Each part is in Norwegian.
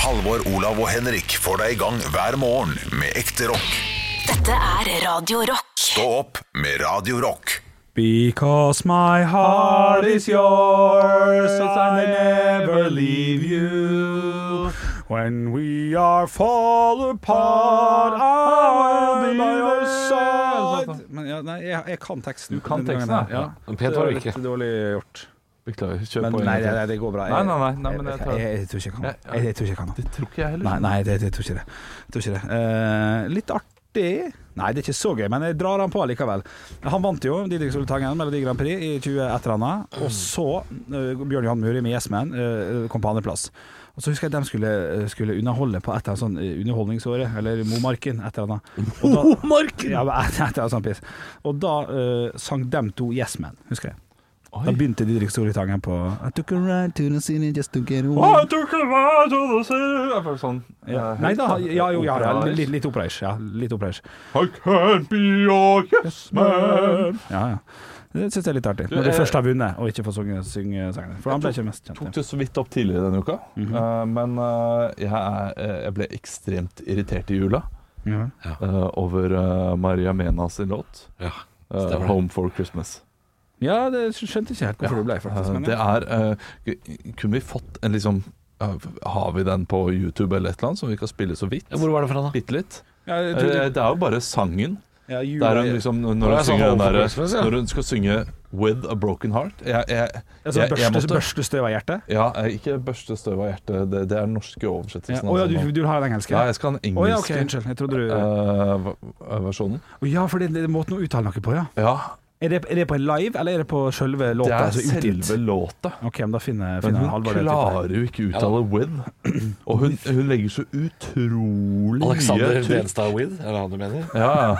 Halvor, Olav og Henrik får deg i gang hver morgen med ekte rock. Dette er Radio Rock. Stå opp med Radio Rock. Because my heart is yours, I never leave you. When we are fall apart, I will be by your side. Men ja, nei, jeg, jeg kan teksten. Du kan denne gangen teksten, ja. her, ja. Men pent var det ikke. litt dårlig gjort. Beklager. Kjør Men på. en nei, gang nei, til. nei, det går bra. Nei, nei, nei, nei, men jeg jeg, tar- jeg, jeg, tror ikke jeg kan det. Ja, ja. Jeg, jeg tror ikke jeg kan det. Det tror ikke jeg heller. Nei, nei, det, det tror ikke det. Jeg Tror ikke det. Eh, litt artig Nei, det er ikke så gøy, men jeg drar han på likevel. Han vant jo Didrik Soltangen Melodi Grand Prix i 2011 annet, og så eh, Bjørn Johan Muri med Yes Man eh, kom på andreplass. Og så husker jeg at de skulle, eh, skulle underholde på et eller annet sånn eh, Underholdningsåret, eller Momarken, et eller annet. Og da- Momarken! Ja, men et et eller annet sånt piss. Og da eh, sang de to Yes Man, husker jeg. Oi. Da begynte Didrik Soltangen på I took a ride to the city just to get Å, away. jeg tok det bra, jeg trodde det ser- Jeg var Sånn. Ja. Eh, Nei da, ja, jo, ja, ja, Operas. litt, litt opprørs. Ja, litt opprørs. I can't be your yes man. Ja, ja. Det syns jeg er litt artig. Du, Når du eh, først har vunnet og ikke får synge, synge sangene. For han ble ikke mest Tok kjent. det så vidt opp tidligere denne uka, Mhm. eh, men eh, jeg, er- eh, jeg ble ekstremt irritert i jula Ja. eh, over eh, Maria Menas sin låt Ja, eh, stemmer det. 'Home for Christmas'. ja, det skjønte ikke helt hvorfor du ble, faktisk. Eh, Men Det ja. er eh, Kunne vi fått en liksom eh, Har vi den på YouTube eller et eller annet som vi kan spille så vidt? Ja, Hvor var det fra, da? Bitte litt. Ja, jeg Eh, trodde- Det er jo bare sangen. ja, jula- Der hun liksom Når det hun er sånn synger den Home for derre Christmas, ja. Når hun skal synge 'With a Broken Heart' Jeg, jeg, Altså, jeg, jeg børste, måtte børste støv av hjertet? Ja, eh, ikke 'børste støv av hjertet'. Det, det er den Å norske ja, oversettelsen. du, altså. du har den engelske? ja, jeg skal ha den Å ja, engelske ok, unnskyld. Jeg trodde du eh, v- versjonen. Å ja, for det det er måten å uttale noe på, ja. Ja, Er det, er det på en live, eller er det på selve det låta? er altså utgitt? selve låta. OK, men da finner, Men finner hun Halvor det. tipper jeg. klarer jo ikke å uttale 'with'. Og hun, hun legger så utrolig Alexander mye trykk. Delstad Weed, er det han du mener? Ja, ja.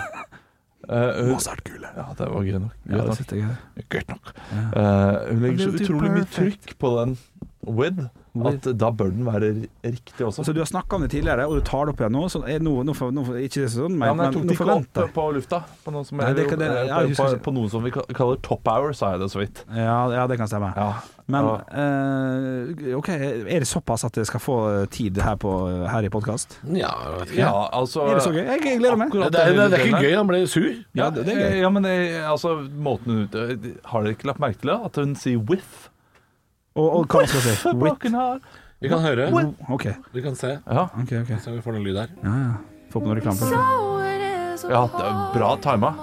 Eh, hun, ja, det var gøy nok. Greit Ja, det nok. sitter jeg der. Greit nok. Eh, hun legger så Little too utrolig mye perfect. trykk på den with at da bør den være r- riktig Så også. Altså, du har snakka om det tidligere, og du tar det opp igjen nå. Så er, nå, nå, for, nå for, ikke sånn, men, ja, men jeg tok nå det ikke opp forventer jeg- på lufta. På noe, som Nei, det kan- det- eh, ja, jeg på, husker ikke. på noe som vi ka- kaller top hour, sa jeg det så vidt. Ja, ja, det kan stemme. Ja. Men Ja. eh, OK, er det såpass at jeg skal få eh, tid her, på, her i podkast? Ja, jeg vet ikke. ja, altså Er det så gøy? Jeg, jeg gleder meg. Det, Akkurat er, det, er, det er delen ikke der. gøy, han ble sur. Ja, Ja, det- det er eh, ja, men eh, altså, måten hun ut- Har dere ikke lagt merke til det? At hun sier with? Og, og hva skal jeg si? Wit. Broken heart. Vi kan høre. OK, Du kan se. Ja, OK. ok Så vi får noen lyd her. Ja, ja. Få på noe reklame. først. ja, det er bra tima.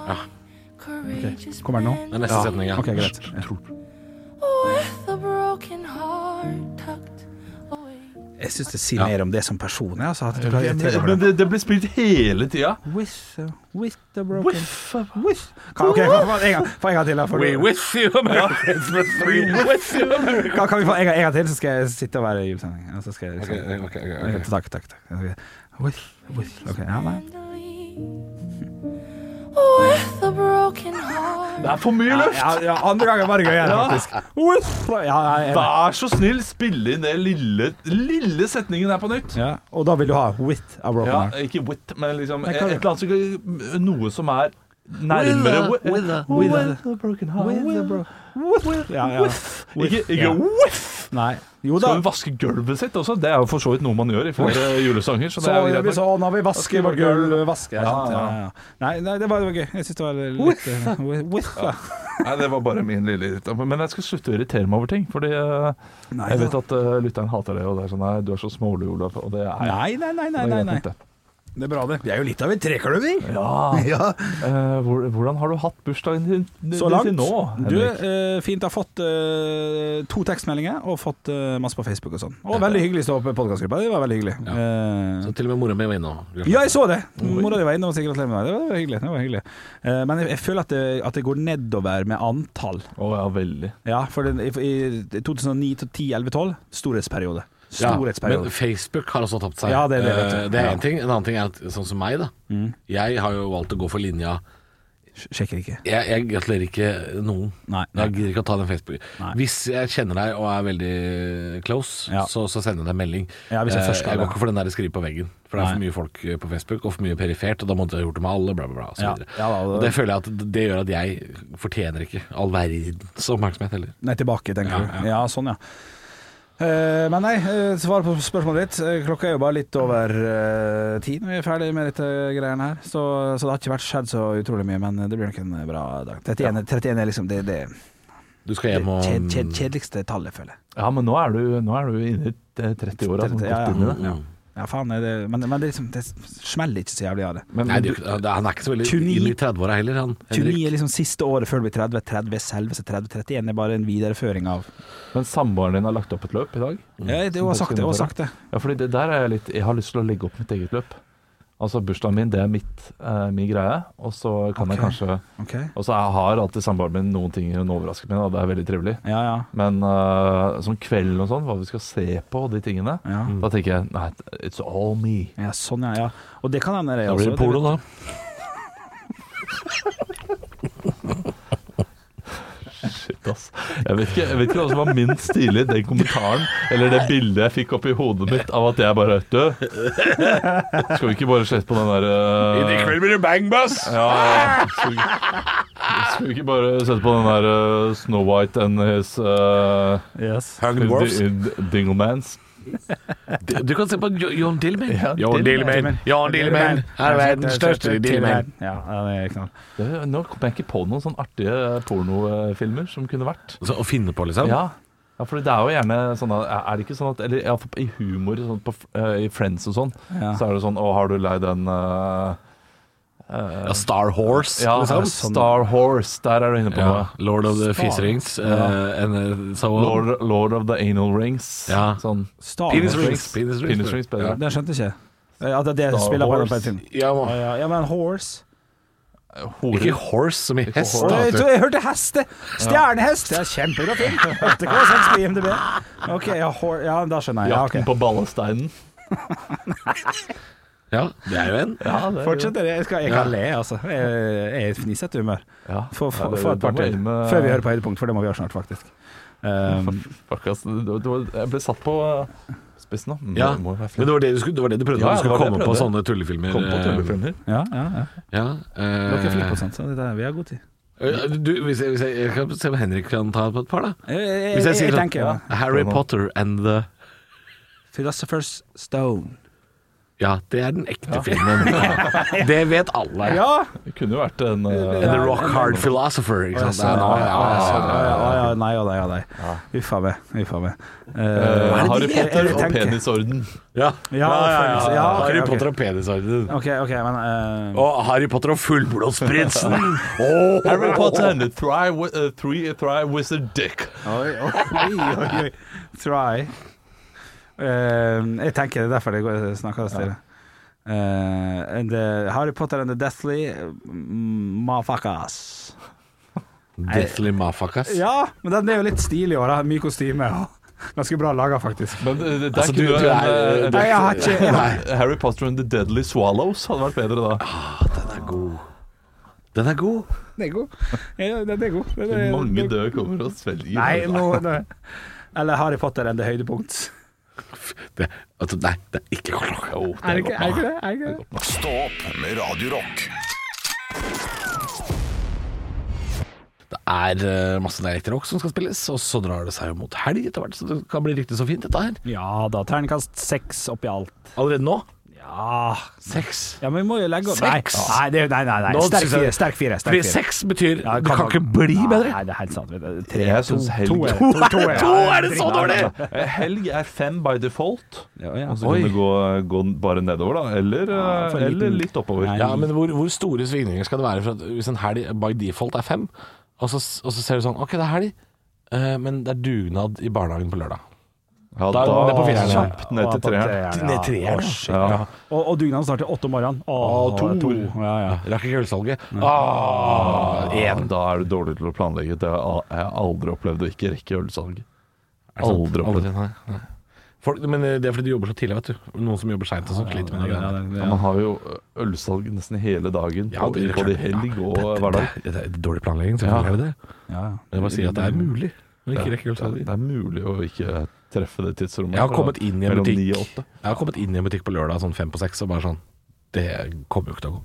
Kommer den nå? Det er neste setning, ja. OK, greit. Ja. Jeg syns det sier Ja. mer om det som person. Jeg, altså, at du klarer å Men, irritere meg. men det, det blir spilt hele tida. With, uh, with the broken With kan, ok, kan, kan, en gang, få en gang til. da, for- We with you, Americans. We with you, Americans. Kan, kan vi få en gang, en gang til, så skal jeg sitte og være i julesending? Og så skal jeg liksom, Ok, ok, ok, ok. Takk, takk. takk. Ok. With, with, ok, ja, nei. Det er for mye luft! Ja, ja, andre gangen var det gøy igjen, faktisk. Uff, ja, jeg er enig. Vær så snill, spille inn den lille, lille setningen her på nytt. ja, og da vil du ha With a broken Ja, heart. ikke with, men liksom Nei, et hva- eller annet som Noe som er nærmere With a- with a- with a- a broken heart. With a bro with. Ja, ja. Ikke, With, ja. ikke with! Nei. Jo da. Skal hun vaske gulvet sitt også? Det er jo for så vidt noe man gjør i flere julesanger. Så Så det er jo det blir greit nok. sånn, når vi vasker vårt gulv vasker, ja, Ja, sant? ja, ja. ja. Nei, nei, det var, det var gøy. Jeg syns det var litt eh, with, with, ja. Nei, det var bare min lille irritasjon. Men jeg skal slutte å irritere meg over ting. Fordi eh, Nei, jeg vet at eh, lytteren hater det, og det er sånn Nei, du er så smålig, Olav. Og det er Nei, nei, nei, nei, det er nei, greit nei. nok, det. Det er bra, det. Vi er jo litt av en trekløver. Ja. Ja. Eh, hvor- hvordan har du hatt bursdagen din, din Så langt. til nå? du, Henrik? eh, fint. Jeg har fått eh, to tekstmeldinger og fått eh, masse på Facebook og sånn. Og veldig hyggelig å stå oppe i podkastgruppa. Det var veldig hyggelig. Ja. Eh, Så til og med mora mi var inne og ja, jeg så det! Mora di var inne og sa gratulerer med dagen. Det var hyggelig. Det var hyggelig. Eh, men jeg, jeg føler at det, at det går nedover med antall. Å ja, veldig. Ja, for den, i, i 2009 til 10, 11, 12 storhetsperiode. Ja, Storhetsperiode. men Facebook har også tapt seg. Ja, det er det, vet du. Eh, det er Ja. Mm. en ting. En annen ting er at sånn som meg, da. Jeg har jo valgt å gå for linja Sjekker ikke. Jeg, jeg gratulerer ikke noen. Nei, nei. Jeg gidder ikke å ta den Facebook. Nei. Hvis jeg kjenner deg og er veldig close, Ja. så, så sender jeg deg en melding. Ja, hvis jeg Eh, først skal jeg det. går ikke for den der skrive på veggen, for det er for mye folk eh, på Facebook og for mye perifert, og da måtte jeg ha gjort det med alle, bla, bla, bla. Og, så Ja. videre. Ja, da, det- og det føler jeg at det gjør at jeg fortjener ikke all verdens oppmerksomhet heller. Nei, tilbake, tenker Ja, du. Ja, sånn, ja. Eh, men nei, eh, svar på spørsmålet ditt. Eh, Klokka er jo bare litt over eh, ti når vi er ferdig med dette greiene her, så, så det har ikke vært skjedd så utrolig mye, men det blir nok en eh, bra dag. 31, 31 er liksom det, det, Du skal det hjem og kjed, kjed, kjedeligste tallet, føler jeg. Ja, men nå er du, nå er du inne i 30-åra. 30, Sånn, ja, ja. godt inn i det. Ja. Ja, faen, er det, men, men det, er liksom, det smeller ikke så jævlig av det. Men, Nei, men det, du, er jo ikke- han er ikke så veldig 29. inn i 30-åra heller, han. 29 er liksom siste året før du blir 30. 30 er selveste 30. 31 er bare en videreføring av men samboeren din har lagt opp et løp i dag? Mm. Ja, det, hun har sagt det. Hun har sagt det. Ja, fordi det der er jeg litt Jeg har lyst til å legge opp mitt eget løp. Altså bursdagen min, det er mitt, eh, min greie. Og så kan jeg Ok. kanskje Ok. Og så jeg har alltid samboeren min noen ting hun overrasker meg, og det er veldig trivelig. Ja, ja. Men uh, sånn kvelden og sånn, hva vi skal se på og de tingene, Ja. Mm. da tenker jeg nei, it's all me. Ja, sånn ja, ja. Og det kan hende det altså- Da blir det også. polo, da. Shit, ass. Jeg vet ikke, jeg vet ikke hva som var minst stilig, den kommentaren eller det bildet jeg fikk opp i hodet mitt av at jeg bare Du, skal vi ikke bare slette på den der uh, blir det bang, bass! Ja, skal vi, skal vi ikke bare sette på den der uh, Snow White and his uh, Yes. Dwarfs. di- di- Dinglemans? Du kan se på Jo- John Dillman. Ja, John Dillman. John Dillman er verdens største Dillman. Ja, ja, det er knall. Det, nå kom jeg ikke på noen sånne artige pornofilmer som kunne vært. Så Å finne på, liksom? Ja, ja for det er jo gjerne sånn at- Er det ikke sånn at Eller i alle fall i humor, sånn på, eh, i Friends og sånn, Ja. så er det sånn Å, har du lei den eh, Ja, Star Horse, Ja, liksom? Star Horse. Der er du inne på Ja, noe. Lord of the Fish Rings. eh, and, eh, so on. Lord, Lord of the Anal Rings. Ja. Sånn. Star Penis Wars. rings. Penis rings. Penis rings bedre. Den skjønte ikke jeg. Eh, At det er Star spiller på den Wars. på en film. Ja, Å, man. Ja, ja, men Horse Hore. Ikke horse som i hest. Å, jeg, da, tror vet du. jeg hørte hest! jeg. Stjernehest! Det er kjempebra film. 8,6 på IMDb. Ok, ja, hor ja, da skjønner jeg. Ja, Jakten ok. på ballesteinen. Ja, det er jo en. Ja, det er jo- Fortsett dere. Jeg, skal, jeg kan le, altså. Jeg jeg er i et fnisete humør. Ja. Få få- Ja, det- få et par da må til jeg inn med- før vi hører på høydepunkt, for det må vi gjøre snart, faktisk. Um, Fuck, ass. Det, det var, jeg ble satt på eh, spissen nå. Men Ja, det må jo være Men flere. det var det du, skulle, det var det du prøvde? Ja, du skulle det var det komme jeg på prøvde. sånne tullefilmer? Kom på eh, tullefilmer. ja, ja, ja. Ja, Du har ikke eh, flink på sånt, så det der, vi har god tid. eh, du, hvis, jeg, hvis jeg, jeg kan se om Henrik kan ta på et par, da. Eh, Jeg, Hvis jeg sier tenker, ja. sånn Harry Potter and the Philosopher's Stone. Ja, det er den ekte filmen. Det vet alle. Ja! Det kunne jo vært en eh, And the Rock Hard Philosopher. Ikke sant? Det er nå- ja, ja, ja. Nei og nei og nei. Uff a meg. Uff a meg. eh, Eh, det Harry de Potter heter? og Tenker. penisorden. Ja, Ja, ja, følelse- ja. ja, ok, Harry ok. Potter og penisorden. OK, ok, men eh, Og Harry Potter og fullblodsprinsen. Harry Potter and the three, wi- eh, three, three wizard dick. Oi, oi, oi, oi. Try. Eh, jeg tenker det er derfor det går snakker stille. Eh, and the Harry Potter and the Deathly mm, Motherfuckers. Deathly Mafakas. Ja, men den er jo litt stilig i år. da. Mye kostyme. og Ganske bra laga, faktisk. Men eh, det, der Altså, kunne du- jo du en, er- eh, Nei, jeg har ikke jeg har, en- Harry Potter and the Deadly Swallows hadde vært bedre da. Den er god. Den er god. Den er god. Ja, den er god. Den er- Mange døde kommer og svelger. Nei, nå nå- Eller Harry Potter enn det høydepunkt. Det, altså, nei, det er ikke godt nok. Jo, det Er er det ikke, godt er det, nok. ikke det? Er det, ikke det? Stå opp med Radio Rock. Det er eh, masse dialekter også som skal spilles, og så drar det seg jo mot helg etter hvert, så det kan bli riktig så fint dette her. Ja da. Terningkast seks oppi alt. Allerede nå? Ja Seks. Ja, men vi må jo legge opp Seks? Nei, nei, det, er- nei, nei, nei. Nå Sterk synes jeg- fire. Sterk fire. Sterk Fordi fire. seks betyr Ja, Det kan ikke bli nei, bedre. Nei, det er helt sant. Vet du. Tre, Jeg to, synes helg- to, er- To er- to er- to er det så Ja, dårlig! ja, Eh, Helg er fem by default. Ja, ja. Og så Oi. kan det gå, gå bare nedover, da. Eller, Ja, for eh, en eller liten- litt oppover. Nei. Ja, men hvor, hvor store svingninger skal det være for at hvis en helg by default er fem, og så, og så ser du sånn Ok, det er helg, eh, men det er dugnad i barnehagen på lørdag. Ja, Da er man ned på ja. fireren. Kjapt ned til Ja, treeren. ja. Ned treeren, Å, ja. shit, Ja. ja. Og, og dugnaden starter åtte om morgenen. Å, Å, to. Ja, ja. Rakk ikke ølsalget. Ah, Ja, én. da er du dårlig til å planlegge. Det har jeg- jeg har aldri opplevd å ikke rekke ølsalg. Er det sant? Aldri opplevd. Aldri, nei, nei. Folk, men eh, det er fordi du jobber så tidlig, vet du. Noen som jobber seint og sånn, sliter med det. Ja, greiene. det- Ja, man har jo ølsalg nesten hele dagen, Ja, både, det er både klart. helg og Ja, det- hverdag. Det, det, det er dårlig planlegging, selvfølgelig Ja. Mm. er det det. ja, ja. Men jeg bare sier at det er mulig. Men ikke rekker Det er, det er mulig å ikke treffe det tidsrommet. Jeg har fra- kommet inn i en mellom butikk. ni og åtte. Jeg har kommet inn i en butikk på lørdag sånn fem på seks og bare sånn Det kommer jo ikke til å gå.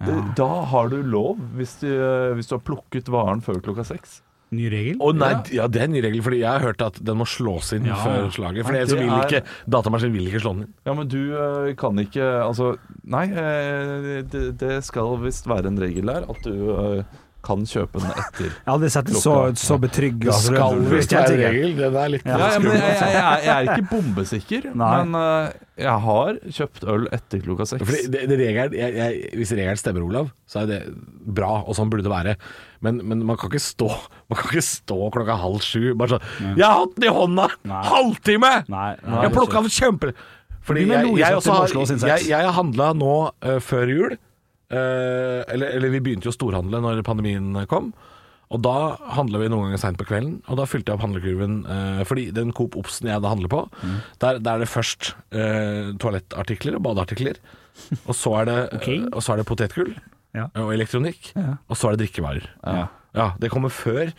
Eh, Det, da har du lov, hvis du, hvis du har plukket varen før klokka seks. Ny regel? Å nei, ja, det er en ny regel, fordi jeg har hørt at den må slås inn Ja. før slaget. For Nei, ellers så det vil er- ikke datamaskinen vil ikke slå den inn. Ja, men du eh, kan ikke Altså, nei, eh, det, det skal visst være en regel der at du eh, kan kjøpe den etter. Jeg har aldri sett det så, så betrygga. altså. regel. Den er litt Ja, ja, men jeg, jeg, jeg, jeg er ikke bombesikker, Nei. men eh, jeg har kjøpt øl etter klokka Fordi seks. det, det regelen, jeg, jeg, hvis regelen stemmer, Olav, så er det bra, og sånn burde det være. Men, men man, kan ikke stå, man kan ikke stå klokka halv sju bare sånn 'Jeg har hatt den i hånda! Halvtime! Nei, nei, jeg det er plukka den kjempe...' Fordi Begynn med jeg, Louise jeg, at også du må har, slå sin seks. jeg, jeg har handla nå eh, før jul. eh, eller, eller vi begynte jo å storhandle når pandemien kom. Og da handla vi noen ganger seint på kvelden, og da fylte jeg opp handlekurven. eh, fordi den Coop Obsen jeg da handler på, der, der er det først eh, toalettartikler og badeartikler. Og så er det, og så er det potetgull Ja. og elektronikk. Og så er det drikkevarer. Ja. Ja, Det kommer før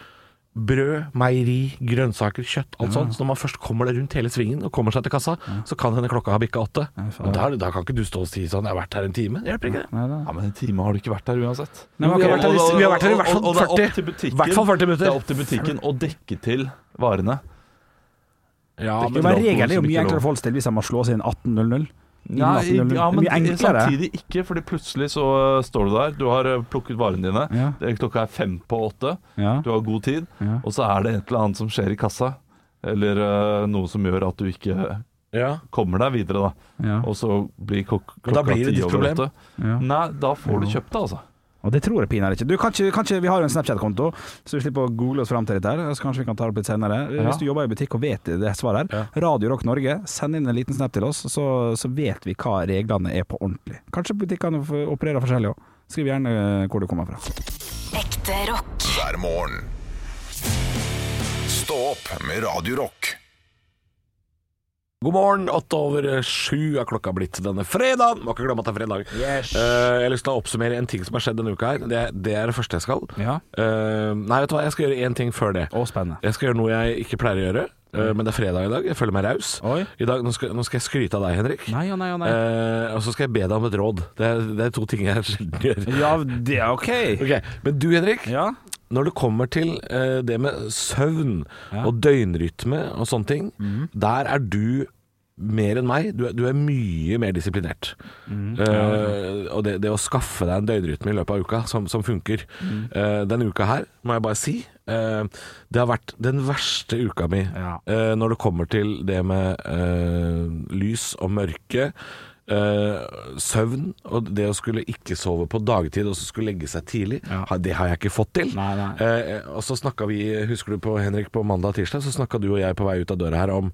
brød, meieri, grønnsaker, kjøtt, alt sånt. Så når man først kommer det rundt hele svingen og kommer seg til kassa, så kan henne klokka ha bikka åtte. Men da, da kan ikke du stå og si sånn 'jeg har vært her en time'. Det hjelper ikke. det. Ja, Men en time har du ikke vært der uansett. Nei, men Vi akkurat- har vært her i- vi har vært her i hvert fall Og- og- og det er opp 40 til butikken. hvert fall 40 minutter. Det er opp til butikken å dekke til varene. Ja, Det er Jo, men men Lov, Regelen er jo ikke mye lov. enklere å forholde seg til hvis jeg må slå inn 18.00. Innen Ja, 18.00. ja, men mye enklere. samtidig ikke, fordi plutselig så eh, står du der. Du har eh, plukket varene dine. Ja. Det er- Klokka er fem på åtte. Ja. Du har god tid. Ja. Og så er det et eller annet som skjer i kassa. Eller eh, noe som gjør at du ikke ja. kommer deg videre, da. Ja. Og så blir klok Men da klokka blir det ti ditt over problem. åtte. Ja. Nei, da får du kjøpt det, altså. Og det tror jeg pinadø ikke. Du, kanskje, kanskje Vi har jo en Snapchat-konto, så vi slipper å google oss fram til dette. her Så kanskje vi kan ta det opp litt senere. Hvis du jobber i butikk og vet det svaret her, Radio Rock Norge, send inn en liten snap til oss, så, så vet vi hva reglene er på ordentlig. Kanskje butikkene f- opererer forskjellig òg. Skriv gjerne eh, hvor du kommer fra. Ekte rock. hver morgen. Stå opp med Radio Rock. God morgen, åtte over eh, sju er klokka blitt denne fredagen. Må ikke glemme at det er fredag. Eh, jeg har lyst til å oppsummere en ting som har skjedd denne uka her. Det, det er det første jeg skal. Ja. Eh, nei, vet du hva, jeg skal gjøre én ting før det. Og spennende. Jeg skal gjøre noe jeg ikke pleier å gjøre, eh, men det er fredag i dag. Jeg føler meg raus. Oi. I dag, nå, skal, nå skal jeg skryte av deg, Henrik. Nei og nei og nei. Eh, og så skal jeg be deg om et råd. Det er, det er to ting jeg sjelden gjør. Eh, Ja, det er OK. Ok, Men du, Henrik. Ja. Når det kommer til eh, det med søvn og døgnrytme og sånne ting, der er du mer enn meg. Du er, du er mye mer disiplinert. Eh, og det, det å skaffe deg en døgnrytme i løpet av uka som, som funker Eh, Denne uka her, må jeg bare si, eh, det har vært den verste uka mi Ja. eh, når det kommer til det med eh, lys og mørke. eh, søvn og det å skulle ikke sove på dagtid og så skulle legge seg tidlig, ha- det har jeg ikke fått til. Nei, nei. Eh, og så snakka vi, husker du på Henrik, på mandag og tirsdag, så snakka du og jeg på vei ut av døra her om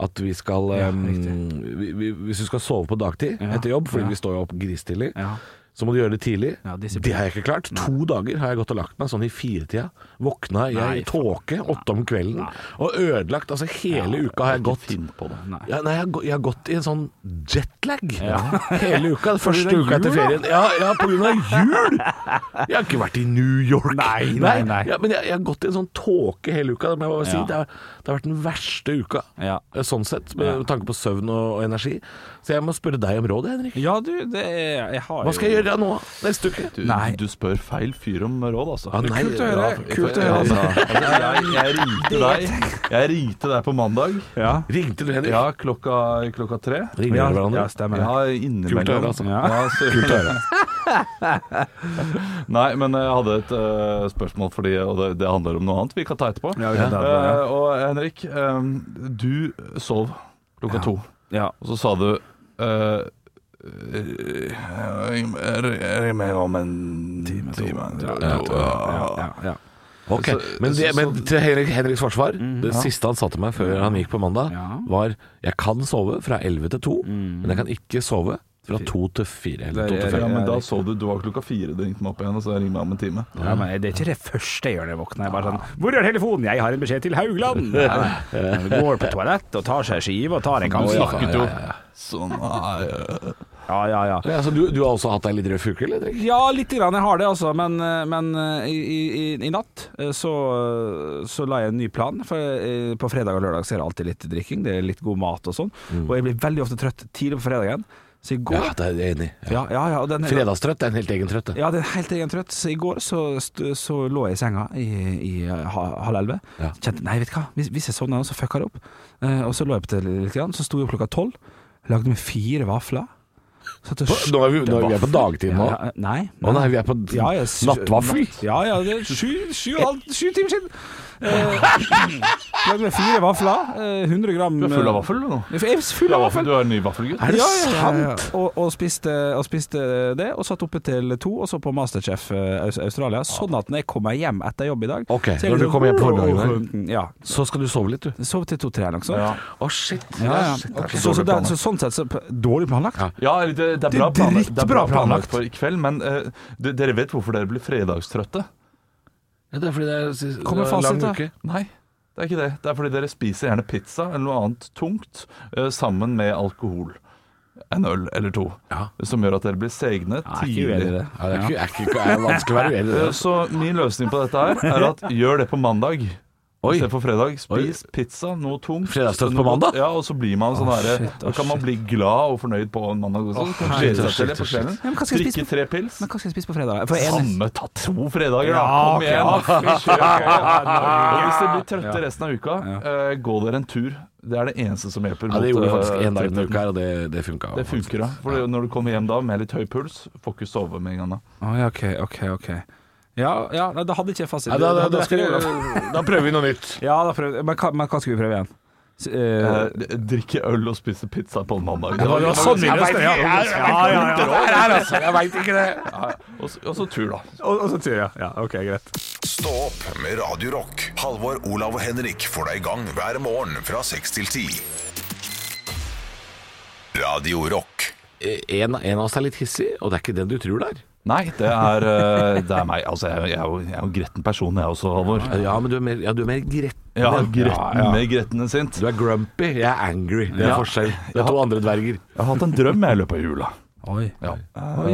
at vi skal eh, vi, vi, Hvis du skal sove på dagtid etter jobb, fordi vi står jo opp gristidlig, Ja. så må du gjøre det tidlig. Ja, disiplin. det har jeg ikke klart. To dager har jeg gått og lagt meg sånn i firetida. Våkna jeg i tåke åtte om kvelden og ødelagt. Altså hele uka har jeg gått Nei. ja, nei, jeg, har gå- jeg har gått i en sånn jetlag hele uka. Den første grunn av uka etter jul, ferien. Ja, ja på grunn av jul! Jeg har ikke vært i New York. Nei, nei, nei. Ja, men jeg, jeg har gått i en sånn tåke hele uka. Det, må jeg bare si. Ja. det, har, det har vært den verste uka, Ja. eh, sånn sett, med tanke på søvn og, og energi. Så jeg må spørre deg om råd, Henrik. Ja, du, det er Jeg har Hva skal jeg gjøre nå, neste uke? Du, Nei. du spør feil fyr om råd, altså. Ja, nei, Kult å høre, ja, kult å høre. Ja, altså, jeg, jeg ringte deg Jeg ringte deg på mandag. Ja. Ringte du Henrik? Ja, klokka, klokka tre. Ringer Ja, dere hverandre? ja, stemmer det. Ja, innimellom. Kult å høre, altså. Ja, så- Nei, men jeg hadde et eh, spørsmål, fordi, og det, det handler om noe annet vi kan ta etterpå. Ja, vi kan ta etterpå, ja. Eh, og Henrik, eh, du sov klokka to, Ja. og så sa du eh, eh, Ring meg om en time, to, to, ja. Ja, ja. Ok, Så- men, det, så- men til Henrik, Henriks forsvar Det siste han sa til meg før han gikk på mandag Ja. Var, jeg kan sove fra 11 til 2 Men jeg kan ikke sove fra 2 til 4 Eller 2 til Det er- 5 Ja, men da sov du. Du var klokka fire, du ringte meg opp igjen, og så ringte jeg meg om en time. Ja, men Det er ikke det første jeg gjør når jeg våkner. Jeg bare sånn 'Hvor er telefonen?' 'Jeg har en beskjed til Haugland'. Nei, nei. Går på toalettet og tar seg en skive og tar en Du kaffe. snakket jo sånn nei, eh. Ja, ja, ja. ja, så du, du har også hatt deg litt røff uke, eller? Henrik? Ja, litt grann, jeg har det altså, men, men eh, i, i, i natt eh, så, så la jeg en ny plan. For eh, på fredag og lørdag så er det alltid litt drikking, det er litt god mat og sånn. Og jeg blir veldig ofte trøtt tidlig på fredagen. Så i Ja, går det er jeg enig i. Ja, ja, ja, og den, Fredagstrøtt er en helt egen trøtt. det. Ja, det er helt egen trøtt. Så i går så, st- så lå jeg i senga i, i eh, ha, halv elleve. Ja. Kjente nei, vet du hva, hvis, hvis jeg sovner nå, så fucker jeg opp. Eh, og så lå jeg på til litt, grann, så sto jeg opp klokka tolv. Lagde meg fire vafler. Satt og På- Nå er vi, nå er vi er på dagtid nå. Ja, ja, nei. Å nei, vi er på Ja, jeg s- nattvaffel. natt- Ja, ja, det er sju, sju, og halv- sju timer siden. Eh, lagde meg fire vafler. Eh, 100 gram Du er full av eh, vaffel, du nå. Jeg er full Du av vaffel. er, vaffel, du er en ny vaffelgutt. Er det Ja, ja, ja, ja. sant? Og, og, spiste, og spiste det, og satt oppe til to, og så på Masterchef eh, Aus- Australia. Sånn at når jeg kommer hjem etter jobb i dag Ok, så er når jeg du liksom- kommer hjem på formiddagen Ja. Så skal du sove litt, du. Sov til to-tre eller noe sånt. Ja. Å, shit. Ja, ja. Ok. Så, så, det, er- så sånn sett så Dårlig planlagt. Ja. Ja, eller det, det er Det er bra planlagt, det er bra drittbra planlagt. planlagt for i kveld, men eh, d- dere vet hvorfor dere blir fredagstrøtte? Ja, det er fordi det er sist- Kommer det er lang fasit, da. uke. Nei, det er ikke det. Det er fordi dere spiser gjerne pizza eller noe annet tungt eh, sammen med alkohol. En øl eller to. Ja. Som gjør at dere blir segne Jeg er ikke uenig i tidlig. det. Ja, det er, ikke, er, ikke, er vanskelig å være uenig i det. Eh, altså. Så min løsning på dette her er at gjør det på mandag. Oi. Istedenfor fredag. Spis pizza, noe tungt. Fredagstøtt noe på mandag? godt. Ja, og så blir man sånn herre Da kan man bli glad og fornøyd på en mandag også. Kan shit, glede seg til shit, det på shit. kvelden. Ja, men hva skal jeg Drikke spise tre pils. Men hva skal jeg spise på fredag? For jeg er Sånn. nesten- Samme, ta to fredager, da. Ja, Kom ok, igjen. ja. da. Fy søren. Og hvis dere blir Ja. trøtte resten av uka, eh, gå dere en tur. Det er det eneste som hjelper. Ja, det mot, gjorde vi eh, faktisk én dag i trøttheten. uka her, og det, det funka. Det funker, da. For når du kommer hjem da med litt høy puls, får ikke sove med en gang da. Å, ja, OK, OK. ok Ja, ja nei, da hadde ikke jeg fasit. Ja, da, da, Det da, hadde skal, vært- da prøver vi noe nytt. ja, da prøvde men, hva- men hva skal vi prøve igjen? S- eh, Eh, Drikke øl og spise pizza på en mandag. det var sånn vi Jeg løste det, ja. vet ikke, jeg vet ikke. Jeg veit ikke det. Og så- Og så tur, da. og, og så sier jeg ja. OK, greit. Stå opp med Radio Rock. Halvor, Olav og Henrik får deg i gang hver morgen fra 6 til 10. Radio Rock. En, en av oss er litt hissig, og det er ikke den du tror det er. Nei, det er, eh, det er meg. Altså, jeg, er jo- jeg, er jo- jeg er jo en gretten person, jeg også, Halvor. Ja, men du er mer, ja, du er mer gretten. Ja, gretten med gretten enn sint. Du er grumpy, jeg er angry. Det er Ja. forskjell. Det er to andre dverger. Jeg har hatt en drøm jeg i løpet av jula. Oi. Ja. Eh, Oi,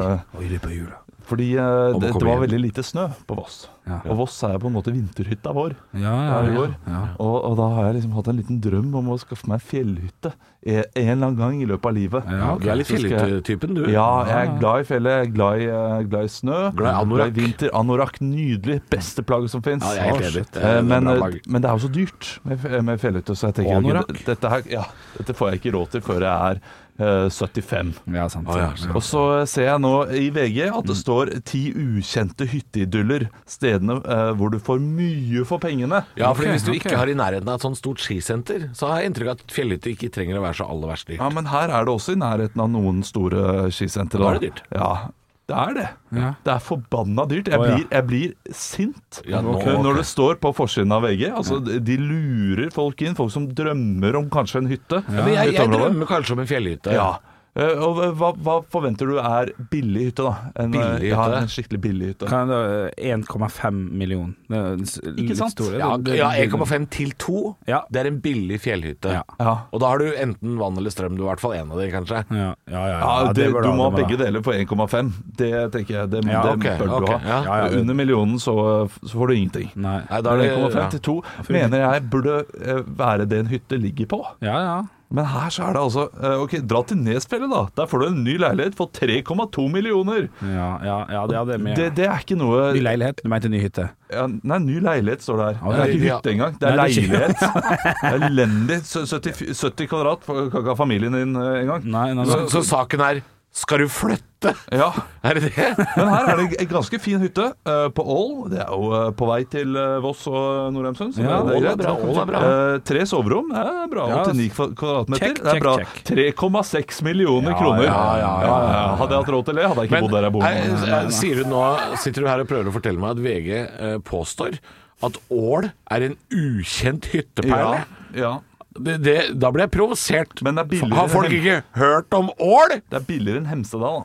det er på jula. Fordi eh, å det, det komme var hjem. veldig lite snø på Voss. Ja. Og Voss er jo på en måte vinterhytta vår. Ja, ja, der vi ja. går. Og, og da har jeg liksom hatt en liten drøm om å skaffe meg fjellhytte en en eller annen gang i løpet av livet. Ja, ok. Du er litt Så skal jeg- filletypen, du. Ja, jeg er glad i fjellet, jeg er glad i, eh, glad i snø. Ah. Glad i anorakk. vinter. Anorakk, nydelig. Beste plagget som fins. Ja, jeg er helt enig. Det er en men, bra eh, plagg. men det er jo så dyrt med, f- eh, med fjellhytte, så jeg tenker Og ok, anorakk. d- dette, her, ja, dette får jeg ikke råd til før jeg er eh, 75. Ja, sant. Å, ja, Mm. sant. Og så eh, ser jeg nå i VG at det står ti ukjente hytteidyller. Stedene eh, hvor du får mye for pengene. Ja, for Ok, Hvis du ok. ikke har i nærheten av et sånt stort skisenter, så har jeg inntrykk av at fjellhytter ikke trenger å være så aller verst dyrt. Ja, men her er det også i nærheten av noen store skisentre. Da er det dyrt. Ja, det er det. Ja. Det er forbanna dyrt. Jeg Å, ja. blir, jeg blir sint Ja, nå, når ok. det står på forsiden av VG. Altså, De lurer folk inn. Folk som drømmer om kanskje en hytte. Ja, men jeg, jeg Hytteområde. drømmer kanskje om en fjellhytte. Ja. Eh, Og hva, hva forventer du er billig hytte, da? En, eh, Billig Ja, hytte? en skikkelig billig hytte. Kan eh, det- 1,5 million. Det er s- litt sant? store. Ja, Det- det- ja 1,5 til 2. Ja. Det er en billig fjellhytte. Ja. Ja. Og da har du enten vann eller strøm, du er i hvert fall en av de, kanskje. Ja, ja, ja, Ja, ja, det, bør Du ha, må ha bør begge ha. deler på 1,5. Det tenker jeg, det, Ja, det ok, bør ok, du ha. ja. Ja, ja, det- Under millionen så, så får du ingenting. Nei. Nei, da er det, 1,5 ja. til 2 mener jeg burde eh, være det en hytte ligger på. Ja, ja. Men her så er det altså eh, Ok, dra til Nesfjellet, da. Der får du en ny leilighet for 3,2 millioner. Ja, ja, ja, det hadde jeg med. Det, det er ikke noe Ny leilighet? Du mente ny hytte? ja, Nei, ny leilighet står der. Ja, Det er ikke ja. hytte engang. Det er Nei, det er leilighet. Elendig. Så- 70, 70 kvadrat kan ikke ha familien din eh, engang. Nei, nei, Så, nei. så saken er Skal du flytte? Ja. Er det det? Men her er det en ganske fin hytte eh, på Ål. Det er jo eh, på vei til eh, Voss og Nordheimsund. så Ja, det Ål er greit. bra, Ål er bra. Eh, tre soverom det er bra. Ja, 89 kva- kvadratmeter. check, det er bra. check, 3,6 millioner Ja, kroner. ja, ja, ja, ja. Hadde jeg hatt råd til det, hadde jeg ikke bodd der jeg bor nei, nå. eh, sier du nå, sitter du her og prøver å fortelle meg at VG eh, påstår at Ål er en ukjent hytteperle? Ja, ja. Det, det, da blir jeg provosert. Men det er billigere Har folk enn- ikke hørt om Ål? Det er billigere enn Hemsedal. da.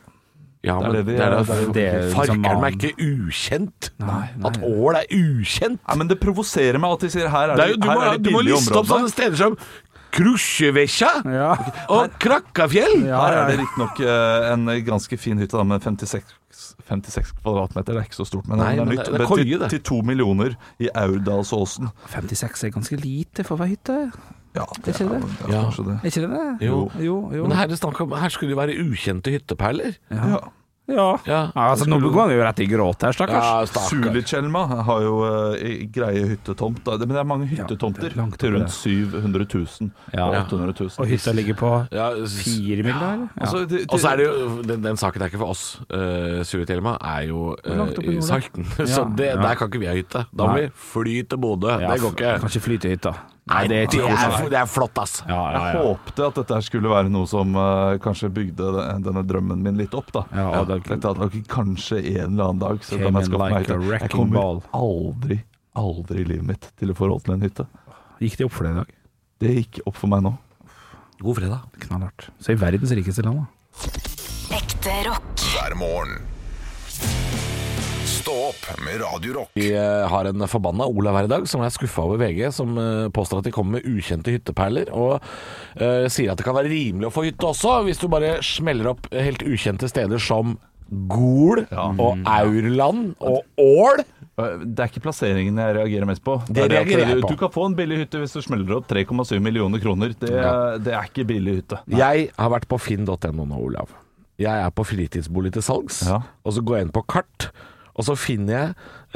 Ja, Det er men det de- det er da- det er jo- det er jo liksom Farker meg annen- ikke ukjent? Nei, nei. At Ål er ukjent? Nei, men det provoserer meg at de sier her er Det det, er jo, du, her må, er de du må billige liste opp områdene. sånn. sånne steder som Krusjevekja Ja. og Krakkafjell. Ja, Her ja, er det ja. riktignok eh, en ganske fin hytte da, med 56, 56 kvadratmeter. Det er ikke så stort, men, Nei, det er men nytt. det- det er koie, til, det. til to millioner i Aurdalsåsen. 56 er ganske lite for å være hytte. Ja, det Ikke det? er, det er kanskje det. Er ikke det det? Jo. jo, jo. Men her, er det snakk om, her skulle det være ukjente hytteperler. Ja. Ja. Ja. Nei, altså, nå går han jo rett i gråt her, stakkars. Sulitjelma har jo eh, greie hyttetomt, da. men det er mange hyttetomter. det er langt til oppi rundt 700 000 Ja. og 800 000. Og hytta ligger på Ja, s- fire mil, da? eller? Altså, Ja. det- det- Og så er det jo Den, den saken er ikke for oss. Uh, Suetelma er jo eh, langt oppe i i nord, da? Salten. Så det, der kan ikke vi ha hytte. Da må Nei. vi fly til Bodø. det går ikke. Kan ikke fly til hytta. Nei, det er, ikke for- det er flott, ass. Ja, ja, Jeg ja. håpte at dette her skulle være noe som eh, kanskje bygde den- denne drømmen min litt opp. da Ja, og det- Dette hadde nok kanskje en eller annen dag så Came kan jeg, in skaffe meg like a hytte. jeg wrecking kommer ball. aldri, aldri i livet mitt til å få råd til en hytte. Gikk det opp for deg i dag? Det gikk opp for meg nå. God fredag. Knallhardt. Så i verdens rikeste land, da. Ekte rock. hver morgen. Stå opp med Radio Rock. Vi eh, har en forbanna Olav her i dag, som er skuffa over VG, som eh, påstår at de kommer med ukjente hytteperler, og eh, sier at det kan være rimelig å få hytte også, hvis du bare smeller opp eh, helt ukjente steder som Gol og Aurland og Ål. Eh, Det er ikke plasseringen jeg reagerer mest på. Det er at reagerer jeg du- på. Du kan få en billig hytte hvis du smeller opp 3,7 millioner kroner. Det, Ja. det er ikke billig hytte. Jeg har vært på finn.no nå, Olav. Jeg er på fritidsbolig til salgs, Ja. og så går jeg inn på kart, og så finner jeg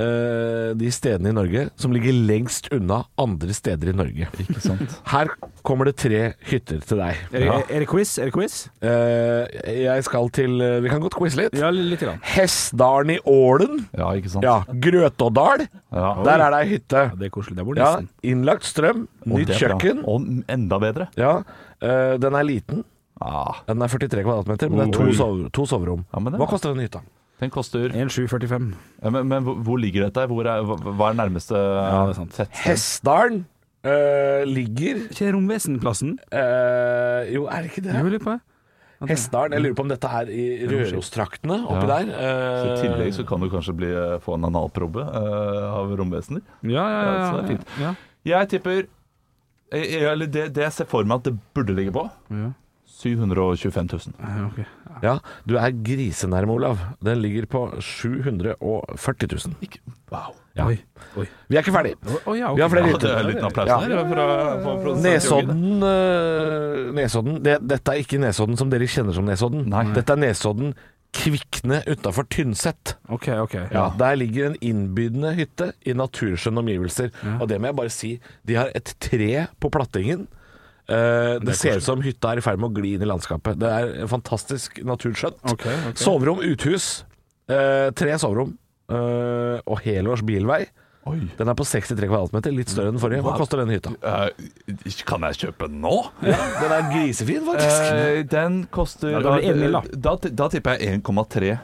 eh, de stedene i Norge som ligger lengst unna andre steder i Norge. Ikke sant? Her kommer det tre hytter til deg. Er, det- er det quiz? Er det quiz? Eh, jeg skal til eh, Vi kan godt quize litt. Ja, litt. Grann. Hessdalen i Ålen. Ja, ikke sant? Ja, Grøtådal. Ja. Der er det ei hytte. Det er koselig. Det bor Ja, nissen. innlagt strøm, Og nytt det er bra. kjøkken. Og enda bedre. Ja, eh, Den er liten. Ah, Den er 43 kvadratmeter, men det er to, Oi. sove, to soverom. Ja, men det- Hva koster den hytta? den koster 1745. Ja, Men, men hvor- hvor ligger dette? Hvor er, hva hva er nærmeste det er sant. tettsted? Hessdalen eh, ligger Er ikke det Romvesenplassen? eh, Jo, er det ikke Jeg det? lurer på det. Hessdalen. Jeg lurer på om dette er i Rørostraktene, oppi Ja. der. Så I eh, tillegg så kan du kanskje bli, få en analprobe eh, av romvesener. Ja, ja, ja. Ja, så ja, det er fint. ja. Jeg tipper eh, eh, Eller det, det jeg ser for meg at det burde ligge på, Ja. 725 000. Ja, ok. Ja, du er grisenærme, Olav. Den ligger på 740 000. Wow. Ja. Oi. Oi. Vi er ikke ferdig. Å, å, ja, ok. Vi har flere Ja, det er en hytter. liten applaus Ja. sånn. der fra, fra produsent Jørgen. Nesodden, eh, Nesodden det, Dette er ikke Nesodden som dere kjenner som Nesodden. Nei. Dette er Nesodden Kvikne utafor Tynset. OK, OK. Ja. Der ligger en innbydende hytte i naturskjønne omgivelser. Og det må jeg bare si, de har et tre på plattingen. Eh, det ser ut som hytta er i ferd med å gli inn i landskapet. Det er en fantastisk naturskjønt. Ok, ok. Soverom, uthus. Eh, tre soverom. Eh, og helårs bilvei. Oi. Den er på 63 kvadratmeter, litt større enn den forrige. Hva koster den hytta? Eh, kan jeg kjøpe den nå? Den er grisefin, faktisk. Eh, den koster Ja, da blir det en mil, da. da, da tipper jeg 1,3.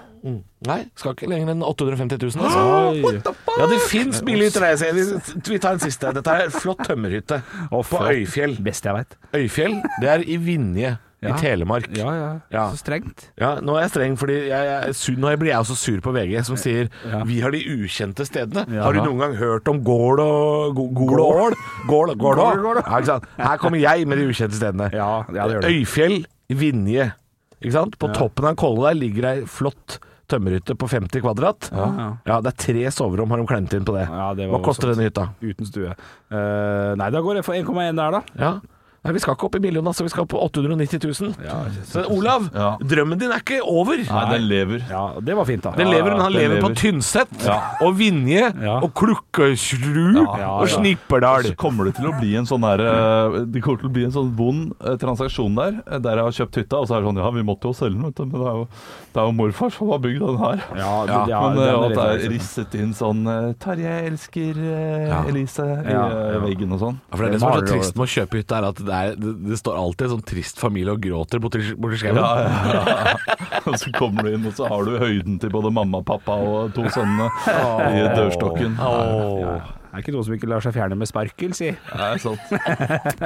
Nei, skal ikke lenger enn 850 000. Altså. Oi. Ja, det fins billige hytter. jeg ser. Vi- Vi tar en siste. Dette er en flott tømmerhytte på flott. Øyfjell. Beste jeg veit. Øyfjell, det er i Vinje i Ja. Telemark. Ja, ja, Ja. Så strengt. Ja, nå er jeg streng, fordi jeg, jeg, sur, nå blir jeg også sur på VG, som sier Ja. 'vi har de ukjente stedene'. Ja. Har du noen gang hørt om Gål og Go- Gol og Ål? Gål Gål og Ål. Ja, ikke sant? Her kommer jeg med de ukjente stedene. Ja, ja, det gjør du. Øyfjell, Vinje. Ikke sant? På toppen av en kolle der ligger ei flott tømmerhytte på 50 kvadrat. Ja. det er tre soverom har de klemt inn på det. Ja, det var Hva koster denne hytta? Uten stue. Eh, nei, da går jeg for 1,1 der, da. Ja. Nei, Vi skal ikke opp i millionen, altså. Vi skal opp på 890 000. Så Olav, Ja. drømmen din er ikke over. Nei, den lever. Ja, det var fint, da. Den lever, men han den lever på lever. Tynset Ja. og Vinje Ja. og Klukkesrud ja, og ja. Snipperdal. Så kommer det til å bli en sånn der, eh, Det kommer til å bli en sånn vond eh, transaksjon der, eh, der jeg har kjøpt hytta. Og så er det sånn Ja, vi måtte jo selge den, vet du. Men det er jo, det er jo morfar som har bygd den her. Ja, det- ja, Men den eh, er at det litt- er risset inn sånn eh, Tarjei elsker eh, Ja. Elise i Ja, eh, ja. veggen og sånn. Ja, for det er Det det som er maler så trist med å kjøpe hytte, er at det, er, det, det står alltid en sånn trist familie og gråter borti borti skauen. Ja, ja, ja. Og så kommer du inn, og så har du høyden til både mamma, pappa og to sønnene i dørstokken. Åh. Det er ikke noe som ikke lar seg fjerne med sparkel, si. Det er sant.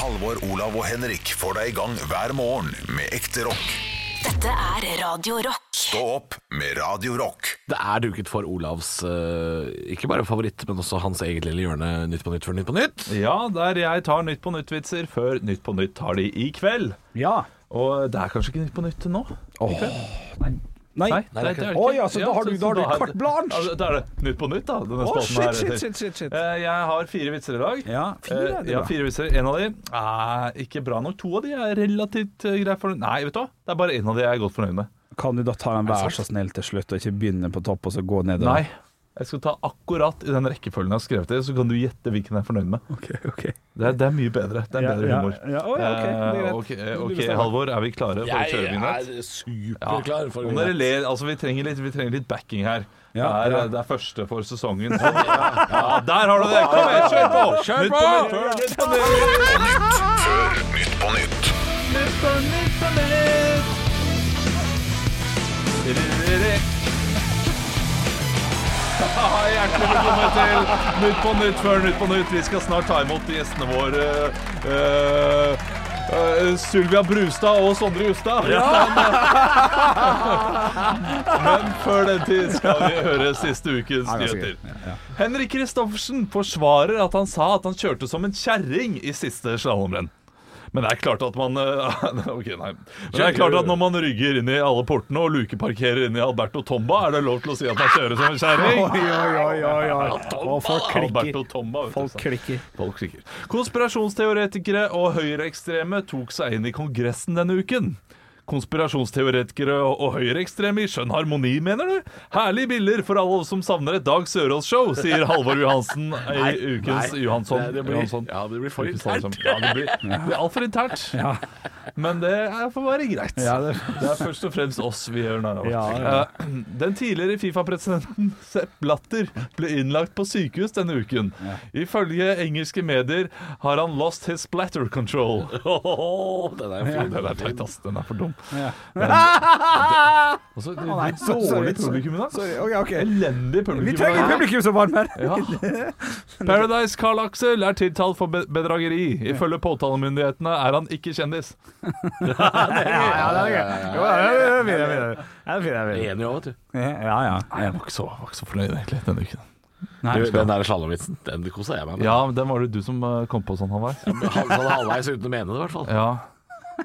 Halvor, Olav og Henrik får deg i gang hver morgen med ekte rock. Dette er Radio Rock. Stå opp med Radio Rock. Det er duket for Olavs eh, ikke bare favoritt, men også hans eget lille hjørne Nytt på nytt før Nytt på nytt. Ja, der jeg tar Nytt på nytt-vitser før Nytt på nytt tar de i kveld. Ja. Og det er kanskje ikke Nytt på nytt nå? Nei. Nei, det er ikke det. ikke. Oi, altså, da har du- så- da har du så carte blanche. Ja, Da er det Nytt på nytt, da. Denne Å, spalten shit, her shit, heter. shit, shit, shit. Eh, Jeg har fire vitser i dag. Ja, fire er Eh, det ja, bra. fire vitser. En av de er ikke bra nok. To av de er relativt eh, greit fornøyd Nei, vet du hva. Det er bare en av de jeg er godt fornøyd med. Kan du da ta den vær så snill til slutt, og ikke begynne på topp og så gå nedover? Nei. Jeg skal ta akkurat i den rekkefølgen jeg har skrevet det, så kan du gjette hvilken jeg er fornøyd med. Ok, ok. Det er, det er mye bedre. Det er Ja, bedre ja, humor. ja. Å, ja, ok. Det er Eh, greit. ok, Du ok, bestemmer. Halvor, er vi klare for å Jeg kjøre vignett? er superklar for Om dere vignett. ler, altså vi trenger litt, vi trenger litt backing her. Ja, det, ja. er, det er første for sesongen. Ja, der har du det! Kom igjen, kjør på! Kjør Nytt på! nytt, Nytt på nytt! Før Nytt på nytt. Nytt på nytt på nytt! Ja, Hjertelig velkommen til Nytt på nytt før Nytt på nytt. Vi skal snart ta imot gjestene våre. eh, eh, Sylvia Brustad og Sondre Justad. Men før den tid skal vi høre siste ukens Ja, ganske nyheter. gøy. Ja, ja. Henrik Kristoffersen forsvarer at han sa at han kjørte som en kjerring i siste slalåmrenn. Men det er klart at man eh, Ok, nei. Men det er klart at når man rygger inn i alle portene og lukeparkerer inn i Alberto Tomba, er det lov til å si at man kjører som en Oi, kjerring? Ah, oi, oi, oi, oi. Og folk klikker. Alberto Tomba, vet du. Folk klikker. Folk klikker. Konspirasjonsteoretikere og høyreekstreme tok seg inn i Kongressen denne uken. Konspirasjonsteoretikere og og høyreekstreme i skjønn harmoni, mener du? Herlige bilder for alle som savner et Dag Sørås-show, sier Halvor Johansen i ukens Johansson. Nei, det blir- Johansson. sånn, ja, det blir for Ukens internt. Johansson. Ja, det blir, sånn det blir altfor internt. Men det er- får være greit. Ja, det, Det er først og fremst oss vi gjør narr av. Ja, ja. Eh, Den tidligere Fifa-presidenten Sepp Blatter ble innlagt på sykehus denne uken. Ifølge engelske medier har han lost his splatter control. Den er jo fin. Den er teit, ass. Den er for dum. Ja. Men- det- Altså, det Å, nei, er så- dårlig sorry, sorry. publikum i dag. Sorry, ok, ok. Elendig Vi publikum. i trenger dag. publikum som varmer. Ja. Paradise Carl Axel er tiltalt for be- bedrageri. Ifølge påtalemyndighetene er han ikke kjendis. Ja, det er gøy. Jo, ja, ja, ja, vi er- vi er- ja, vi er- vi er- Enig òg, vet du. Ja, ja. Nei, jeg var ikke så, var ikke så fornøyd egentlig denne uken. Nei, Du, Den der slalåmvitsen, den kosa jeg meg med. Ja, men den var det du som eh, kom på sånn, Halvard. Men hal- Sånn halvveis uten å mene det, i hvert fall. Ja.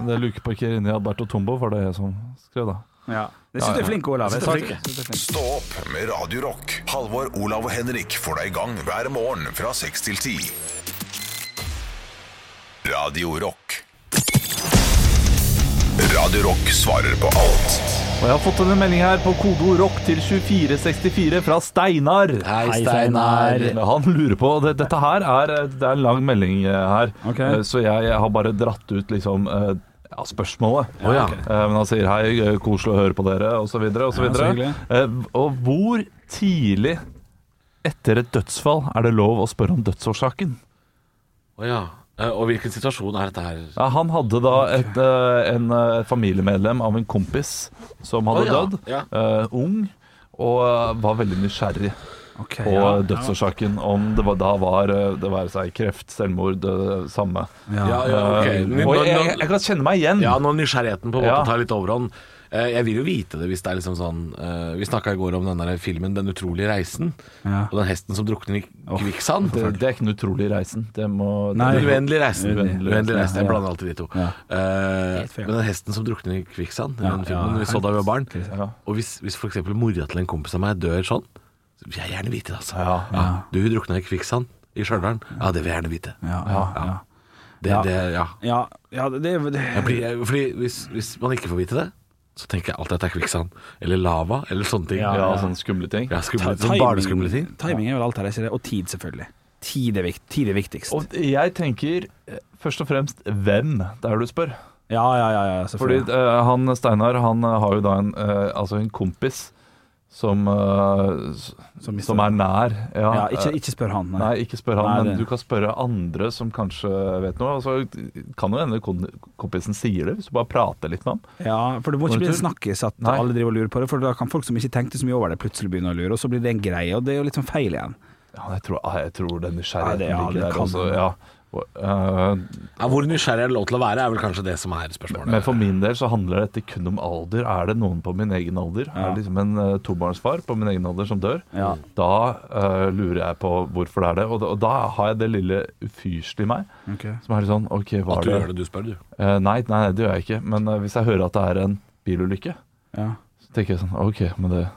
Det lukeparker inni Alberto Tombo var det jeg som skrev, da. ja. Jeg synes du er flink, Olav. Jeg Jeg synes synes- du er jeg synes du er flink. Stå opp med Radio Rock. Halvor, Olav og Henrik får deg i gang hver morgen fra 6 til 10. Radio Rock. Radio Rock svarer på alt. Og jeg har fått en melding her på kodeord rock til 2464 fra Steinar. Hei, Steinar. Han lurer på det, Dette her er, det er en lang melding eh, her, Ok. Eh, så jeg, jeg har bare dratt ut liksom eh, ja, spørsmålet. Å, ja. Eh, Men han sier hei, eh, koselig å høre på dere, osv. Ja, så videre hyggelig. Eh, og hvor tidlig etter et dødsfall er det lov å spørre om dødsårsaken? Å ja. Eh, Og hvilken situasjon er dette her? Ja, han hadde da et, eh, en eh, familiemedlem av en kompis som hadde Å, ja. dødd, Ja. eh, ung, og eh, var veldig nysgjerrig Ok, på ja. eh, dødsårsaken. Om det var, da var eh, det være seg kreft, selvmord, det samme. Ja, ja, ok. Eh, Nå- og jeg, nå- jeg, jeg kan kjenne meg igjen. Ja, når nysgjerrigheten på en måte Ja. tar litt overhånd. Eh, Jeg vil jo vite det hvis det er liksom sånn eh, Vi snakka i går om den der filmen 'Den utrolige reisen'. Ja. Og den hesten som drukner i kvikksand. Det, det er ikke den utrolige reisen. Det må Nei. Den uendelige reisen. Uendelig. Uendelig reisen. Jeg Ja. blander alltid de to. Ja. Eh, Helt fair. men den hesten som drukner i kvikksand, Ja, den ja, filmen vi så da vi var barn Ja. Og hvis, hvis f.eks. mora til en kompis av meg dør sånn, så vil jeg gjerne vite det, altså. Ja. Du drukna i kvikksand i Stjørdal. Ja, det vil jeg gjerne vite. Ja, ja, ja. Det, Ja. det, ja. Ja, ja, det, det, Jeg blir, jeg, fordi hvis, hvis man ikke får vite det, så tenker jeg alltid at det er kvikksand. Eller lava, eller sånne ting. Ja, ja, Ja, sånne skumle ting. skumle, Ti- sånn barneskumle ting. Timing er vel alt her, er ikke det? Og tid, selvfølgelig. Tid er, vikt, tid er viktigst. Og jeg tenker eh, først og fremst hvem det er du spør. Ja, ja, ja, ja Fordi selvfølgelig. eh, han Steinar han eh, har jo da en, eh, altså en kompis som, eh, s- Som mister- som er nær. Ja, ja, ikke, eh, ikke spør han. Nei, ikke spør han, Nei, men det- du kan spørre andre som kanskje vet noe. Og så kan jo hende kon- kompisen sier det, hvis du bare prater litt med ham. Ja, for det må ikke bli en Konjunktur? snakkis at Nei. alle driver og lurer på det, for da kan folk som ikke tenkte så mye over det, plutselig begynne å lure, og så blir det en greie, og det er jo litt sånn feil igjen. Ja, jeg tror, ah, jeg tror den Nei, nysgjerrigheten det- ja, det ligger der kan også. hende. Ja. Og, eh, Ja, hvor nysgjerrig er det lov til å være, er vel kanskje det som er spørsmålet. men for min del så handler dette kun om alder. Er det noen på min egen alder, er det liksom en eh, tobarnsfar på min egen alder som dør, Ja. da eh, lurer jeg på hvorfor det er det. Og, da- og da har jeg det lille ufyrste i meg. Mm. Som er litt sånn OK, hva At du er gjør det? det du spør, du. Eh, nei, nei, nei, det gjør jeg ikke. Men eh, hvis jeg hører at det er en bilulykke, Ja. Så tenker jeg sånn OK, men det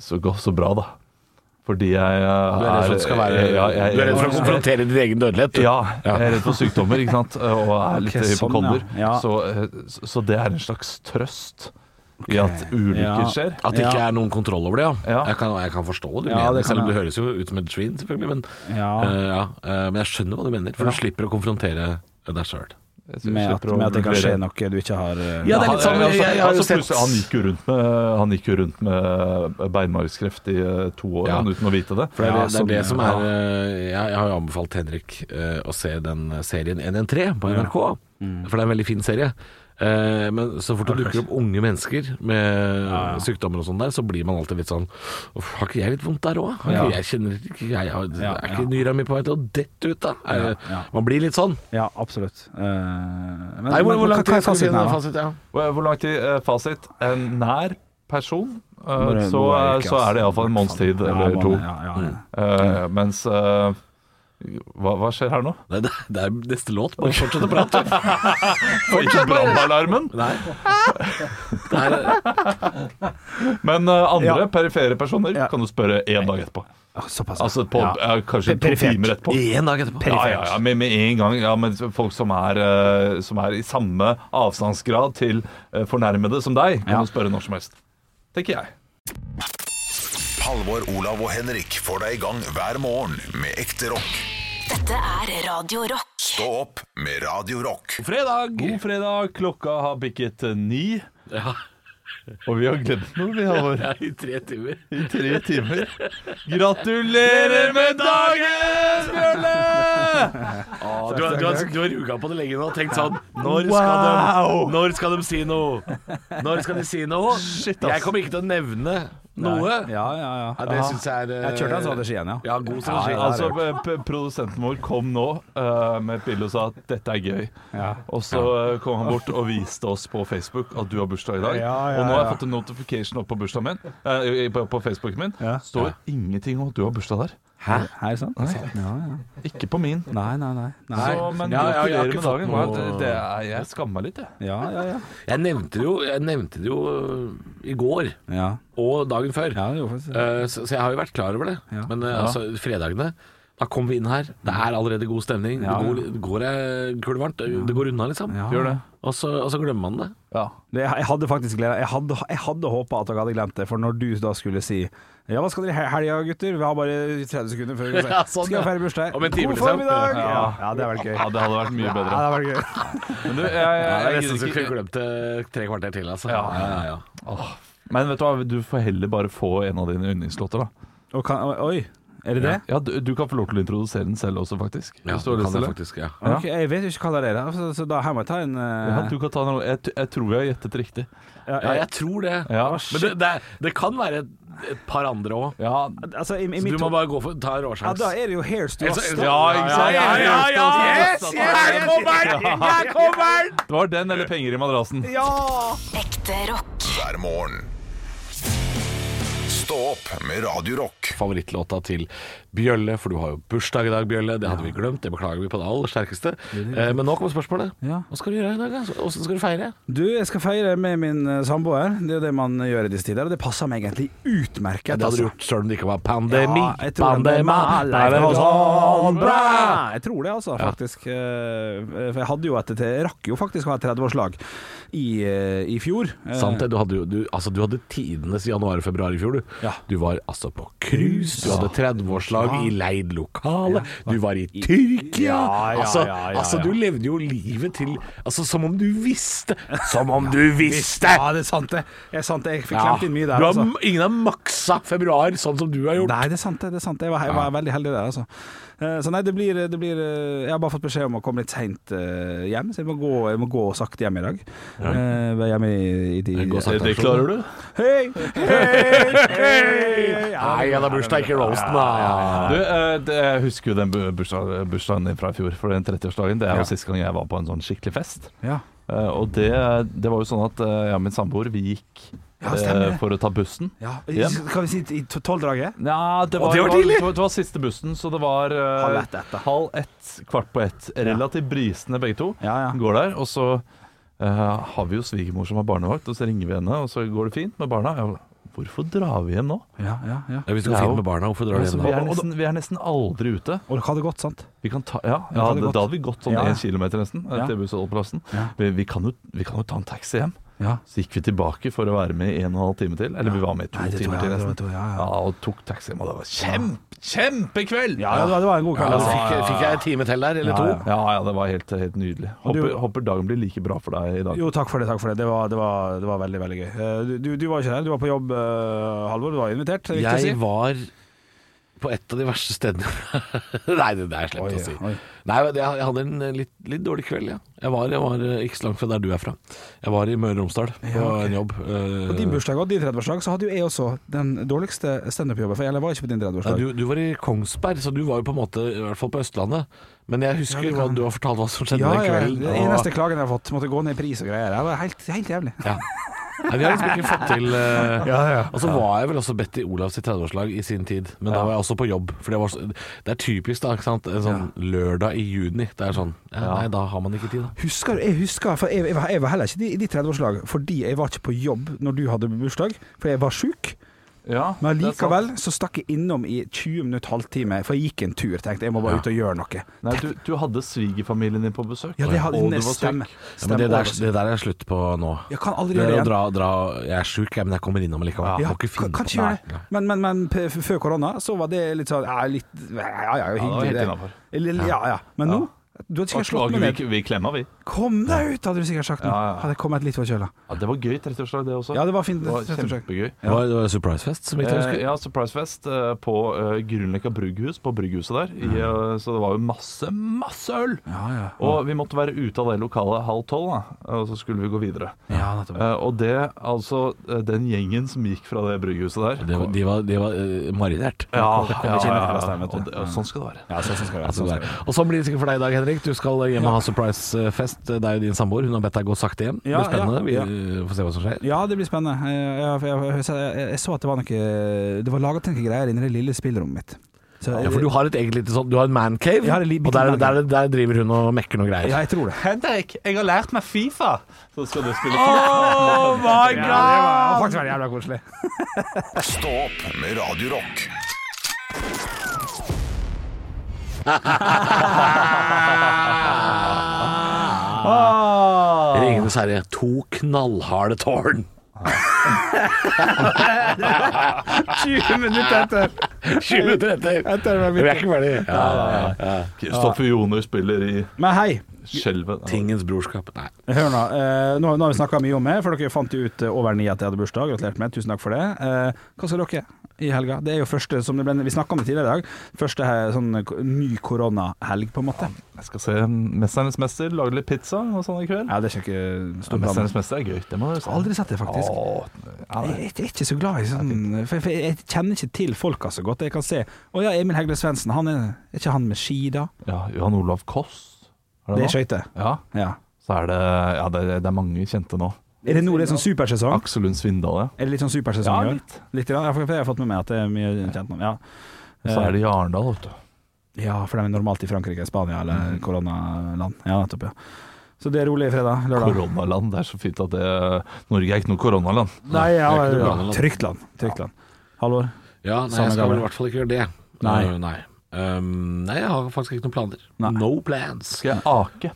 Så, godt, så bra, da. Fordi jeg eh, Du er redd for at det skal være ja, jeg- Du er redd for å konfrontere din egen dødelighet? du. Ja, jeg er redd for sykdommer, ikke sant? Eh, og er litt Ok, sånn, hypokonder. ja. Ja. Så, eh, så- så det er en slags trøst i at ulykker Ja. skjer. At det ikke Ja. er noen kontroll over det, ja. Ja. Jeg, kan, jeg kan forstå hva du Ja, mener, det kan selv om jeg. du høres jo ut som et svin, selvfølgelig. Men, Ja. eh, ja, eh, men jeg skjønner hva du mener, for du slipper å konfrontere deg sjøl. Jeg Med at, slipper å med at det kan skje vurdere. noe du ikke har eh, Ja, det er litt sånn, Han- jeg- jeg- jeg har jo altså, sett- plutselig- han gikk jo rundt med, han gikk jo rundt med beinmargskreft i eh, to år Ja. han, uten å vite det. For det, er Ja, det, det er det sånn, som ja. er eh, Jeg, jeg har jo anbefalt Henrik eh, å se den serien 113 på NRK, for det er en veldig fin serie. Eh, men så fort Mm. det dukker opp unge mennesker med sykdommer og sånn der, så blir man alltid litt sånn Uff, har ikke jeg litt vondt der òg? Ja. Jeg kjenner ikke jeg har, Ja, Er ja. ikke nyra mi på vei til å dette ut, da? Er, Ja, ja. Man blir litt sånn. Ja, absolutt. Eh, men, Nei, hvor, men hvor hva- hva lang er tid skal vi fasiten her, finne da? fasit? Ja. Hvor hvor lang tid? eh, Fasit. En nær person, eh, Nå er det- så, nå er eh, det ikke, så er det altså. iallfall en måneds tid Ja, eller to. måned, Ja, ja, ja. Eh, Mens eh, hva, hva skjer her nå? Nei, det, det er neste låt. Bare fortsett å prate. Ikke brannalarmen! Nei. Det er, Men eh, andre Ja. perifere personer Ja. kan du spørre én dag etterpå. Ah, Såpass. Altså på, ja. eh, kanskje Per- to perifert. timer etterpå. én dag etterpå. Ja, ja, ja, med, med en gang. Ja, men folk som er, eh, som er i samme avstandsgrad til eh, fornærmede som deg, kan Ja. du spørre når som helst. Tenker jeg. Halvor, Olav og Henrik får deg i gang hver morgen med ekte rock. Dette er Radio Rock. Stå opp med Radio Rock. Fredag! God fredag, klokka har bikket eh, ni. Ja. Og vi har glemt noe, vi har vært Ja, I tre timer. i tre timer. Gratulerer med dagen, Bjørle! Ah, du, har- du, har- du har ruga på det lenge nå og tenkt sånn når skal, Wow! de, når skal de si noe? Når skal de si noe? Shit, ass. Jeg kommer ikke til å nevne noe. Ja, ja, ja. Ja, det syns jeg er eh, Jeg kjørte den strategien, ja. Ja, god strategi. Ja, ja, Altså, p- p- Produsenten vår kom nå eh, med et bilde og sa at dette er gøy. Ja. Og så eh, kom han bort og viste oss på Facebook at du har bursdag i dag. Ja, ja, og nå har jeg ja. fått en notification opp på bursdagen min eh, på, på Facebooken min. Ja. Står ingenting om at du har bursdag der. Hæ? Er det sant? Ja, ja. Ikke på min. Nei, nei, nei. nei. Så, men Ja, ja, jeg har gratulerer med dagen. ikke fått Hva- Det, noe- det er, jeg skammer meg litt, jeg. Ja, ja, ja. Jeg nevnte det jo, jeg nevnte det jo eh, i går Ja, og dagen før. ja det gjorde faktisk det. Eh, Så, så jeg har jo vært klar over det. Ja. Men eh, altså, fredagene da kommer vi inn her. Det er allerede god stemning. Ja, Det ja. går, går eh, kulvarmt. Det går unna, liksom. Ja. Gjør det. Og, så, og så glemmer man det. Ja. det. Jeg hadde faktisk gleda Jeg hadde, jeg hadde håpa at dere hadde glemt det, for når du da skulle si Ja, hva skal dere i hel- helga, gutter? Vi har bare 30 sekunder før vi Ja, sånn, Skal ja. jeg feire bursdag? Om en time, God liksom. formiddag! Ja. Ja, ja det hadde vært gøy. ja, det hadde vært mye Ja, det bedre. hadde vært gøy. Men du, jeg, jeg, Ja, jeg jeg, er nesten så gidder kunne ikke- glemt det tre kvarter til, altså. Ja. ja, ja. Åh. Men vet du hva, du får heller bare få en av dine yndlingslåter, da. Og kan, oi, er det det? Ja, du, du kan få lov til å introdusere den selv også, faktisk. Ja, hvis du har lyst det kan til jeg det. faktisk, ja. Ja. Ok, jeg vet jo ikke hva det er, da, så, så da her må jeg ta en eh, Ja, du kan ta den. Jeg, t- jeg tror jeg har gjettet riktig. ja, jeg tror det. Ja. Men det, det, er- det kan være et, et par andre òg. Ja, altså, i, i Så mitt du må bare gå for, ta en Ja, råsjans. da er det jo Hairs du har Ellers- stått. ja, ikke sant? Ja, ja, ja, ja, Yes, yes, yes, yes. yes. Her kommer den! Det var den eller penger i madrassen. Ja! Ekte rock. hver morgen. Stå opp med Radio Rock. Favorittlåta til Bjølle, for du har jo bursdag i dag, Bjølle. Det hadde vi glemt, det beklager vi på det aller sterkeste. Eh, Men nå kommer spørsmålet. Ja. Hva skal du gjøre i dag? da? Åssen skal du feire? Du, jeg skal feire med min eh, samboer. Det er jo det man gjør i disse tider, og det passer meg egentlig utmerket. Det hadde du altså. gjort sjøl om det ikke var pandemi. Ja, jeg tror det med alle er sånn bra. Jeg tror det, altså, faktisk. Eh, For jeg hadde jo et Jeg rakk jo faktisk å ha et 30-årslag i, eh, i fjor. Eh, Sant det, du hadde, jo- du, altså, du hadde tidenes januar og februar i fjor, du. Ja. Du var altså på cruise, du hadde 30-årslag i leid lokale, du var i Tyrkia. Ja, ja, altså, ja, ja, altså, ja. du levde jo livet til Altså, som om du visste! Som om du visste! Ja, det er sant, det. Jeg, sant, det. jeg fikk Ja. klemt inn mye Du der, har, altså. Ingen har maksa februar sånn som du har gjort. Nei, det er sant, det. det er sant. Jeg var, jeg var veldig heldig der, altså. Eh, Så nei, det blir, det blir eh, Jeg har bare fått beskjed om å komme litt seint eh, hjem, så jeg må gå, jeg må gå sakte hjem i dag. Ja. Hjemme i, i de går sakte. Det klarer du. Hei, hei, hei! Ja, Nei, han har bursdag, ikke roasten, da. Du, eh, det, jeg husker jo den bu- bursdag, bursdagen din fra i fjor, for den 30-årsdagen. Det er Ja. jo siste gang jeg var på en sånn skikkelig fest. ja. Eh, Og det, det var jo sånn at eh, jeg og min samboer, vi gikk Ja, stemmer eh, det. for å ta bussen. ja. Hjem. Skal vi si i to- tolvdraget? Ja, det Å, var, det var tidlig! det var, det var siste bussen, så det var eh, Halv ett, ett, da. halv ett, kvart på ett. Relativt brisende begge to. Ja, ja. Går der, og så eh, har vi jo svigermor som har barnevakt, og så ringer vi henne, og så går det fint med barna. Ja, hvorfor drar vi hjem nå? Ja, ja, ja. Ja, Hvis det går Ja, og- fint med barna, hvorfor drar du Altså, hjem vi, da? er nesten, vi er nesten aldri ute. Og dere hadde gått, sant? Vi kan ta, ja, da ja, hadde vi da gått. da hadde vi gått sånn Ja. en kilometer nesten eh, Ja. til bussholdeplassen. Ja. Vi, vi, kan jo- vi kan jo ta en taxi hjem. Ja. Så gikk vi tilbake for å være med i en og en halv time til. Eller vi var med i to Nei, det tror timer jeg, til, det nesten. tror jeg, ja, ja. og tok taxi hjem, og det var kjempe, kjempekveld! Ja, det var- det var en god kveld. Ja, Altså. fikk, fikk jeg en time til der, eller Ja, to? ja. Ja, ja, det var helt, helt nydelig. Og du- Håper, håper dagen blir like bra for deg i dag. Jo, takk for det. takk for Det Det var, det var, det var veldig veldig gøy. Eh, Du, du, du var ikke der, du var på jobb, eh, Halvor. Du var invitert. er viktig å si. Jeg var på et av de verste stedene Nei, det, det er slemt Oi, å si. oi. Nei, men jeg, jeg hadde en eh, litt, litt dårlig kveld, ja. jeg. Var, jeg var eh, ikke så langt fra der du er fra. Jeg var i Møre og Romsdal på ok. en jobb. eh, På din bursdag og din 30-årsdag så hadde jo jeg også den dårligste standup-jobben. For jeg var ikke på din Nei, 30-årsdag. du, du var i Kongsberg, så du var jo på en måte i hvert fall på Østlandet. Men jeg husker Ja, det hva kan- du har fortalt hva som skjedde Ja, den ja, kvelden. det er eneste klagen jeg har fått. Måtte gå ned i pris og greier. Det var helt, helt jævlig. Ja. Nei, vi har liksom ikke fått til eh, Ja, ja. Og så var jeg vel også bedt i Olavs 30-årslag i sin tid, men da var jeg også på jobb. For det, var så, det er typisk, da. Ikke sant? En sånn lørdag i juni. Det er sånn ja, Nei, da har man ikke tid, da. Husker, du- jeg husker, for jeg, jeg, var, jeg var heller ikke i ditt 30-årslag fordi jeg var ikke på jobb når du hadde bursdag, for jeg var sjuk. Ja, Men det er sant. likevel så stakk jeg innom i 20 minutter, halvtime, for jeg gikk en tur. Tenkte jeg må bare ut og gjøre noe. Nei, du, du hadde svigerfamilien din på besøk, Ja, det hadde og du nest- var stemme. syk. Ja, men det Stemme der, over. det der er slutt på nå. Jeg kan aldri Det gjøre er det å igjen. dra, dra Jeg er sjuk, jeg, men jeg kommer innom likevel. Ja, Må ikke finne kan- kanskje på gjør det. Men, men, men p- f- før korona så var det litt sånn Ja, litt, ja, ja, ja var hyggelig. helt det. innenfor. Eller, ja, ja. Men nå Du hadde sikkert slått meg vi, ned. vi klemmer, vi. Kom deg ut, hadde du sikkert sagt nå. Ja, ja. Hadde jeg kommet litt for kjøla. Ja, det var gøy 30-årslag, det også. Ja, det var fint. Det var rett og slett. kjempegøy. Det var, det var Surprisefest, som ikke jeg Eh, husker. ja, Surprisefest eh, på eh, Grünerløkka brugghus, på brygghuset der. I, eh, så det var jo masse, masse øl! Ja, ja. Og vi måtte være ute av det lokalet halv tolv, da, og så skulle vi gå videre. Ja, nettopp. Eh, og det, altså, eh, den gjengen som gikk fra det brygghuset der Det var, de var, de var eh, marinert. Ja, ja, Kom- kom ja, ikke inn i ja, frokost der, vet du. Og det, og sånn skal det være. Ja, sånn skal det være. Altså, Sånn det skal er- det være. og sånn blir det sikkert for deg i dag, Henrik. Du skal hjem og ha surprise-fest. Det er jo din samboer. Hun har bedt deg gå sakte hjem. Det Ja, blir spennende. Vi ja, eh, får se hva som skjer. Ja, det blir spennende. Jeg, jeg, jeg, jeg, jeg så at det var noe Det var laga noen greier inni det lille spillerommet mitt. Så, Ja, for du har et eget lite sånn Du har en mancave, Jeg har en li- og der, der, der driver hun og mekker noen Ja, greier. jeg tror det. Henrik, jeg har lært meg Fifa! Så skal du spille Oh my Ja, det var faktisk veldig jævla koselig. Stå opp med Radio Rock. Ah! Ringenes herre, to knallharde tårn. 20 minutter etter. 20 minutter etter. Jeg tar meg Vi midt. er ikke ferdig. Ja, ja, ja. Kristoffer Joner spiller i Men hei, skjelvet. Tingens brorskap. Nei. hør nå. Eh, nå, nå har vi snakka mye om meg, for dere fant jo ut eh, over ni at jeg hadde bursdag. Gratulerer med, tusen takk for det. Eh, hva skal dere i helga? Det er jo første, som det ble, vi snakka om det tidligere i dag, første eh, sånn ko- ny koronahelg, på en måte. Jeg skal se Mesternes mester, lage litt pizza og sånn i kveld. Ja, det er ikke ikke stor plan. Mesternes mester er gøy. Det må du si. Aldri sett det, faktisk. Åh, ja, Jeg, nei. jeg er ikke så glad i sånn for, for Jeg kjenner ikke til folka så godt. Jeg kan se Å ja, Emil Hegle Svendsen. Han er, er ikke han med ski, da? ja, Johan Olav Koss. Er Det det er nå? skøyter. Ja, Ja. så er det, ja, det, det er mange kjente nå. Er det nå litt sånn supersesong? Aksel Lund Svindal, ja. Er det litt sånn supersesong Ja, i år? litt. Litt grann? Ja, for for jeg har fått med meg at det er mye kjent navn. Ja. Så er det i Arendal, vet du. ja, for de er normalt i Frankrike, Spania eller Mm. koronaland. Ja, nettopp, ja. Så det er rolig fredag, lørdag. Koronaland. Det er så fint at det, Norge er ikke noe koronaland. Nei, ja, Det er ikke ja. koronaland. Trygt land. Trygt land. Halvor? Ja, nei, Samme jeg skal gamle. vel i hvert fall ikke gjøre det. Nei. Uh, nei. Um, nei, jeg har faktisk ikke noen planer. Nei. No plans. Skal jeg ake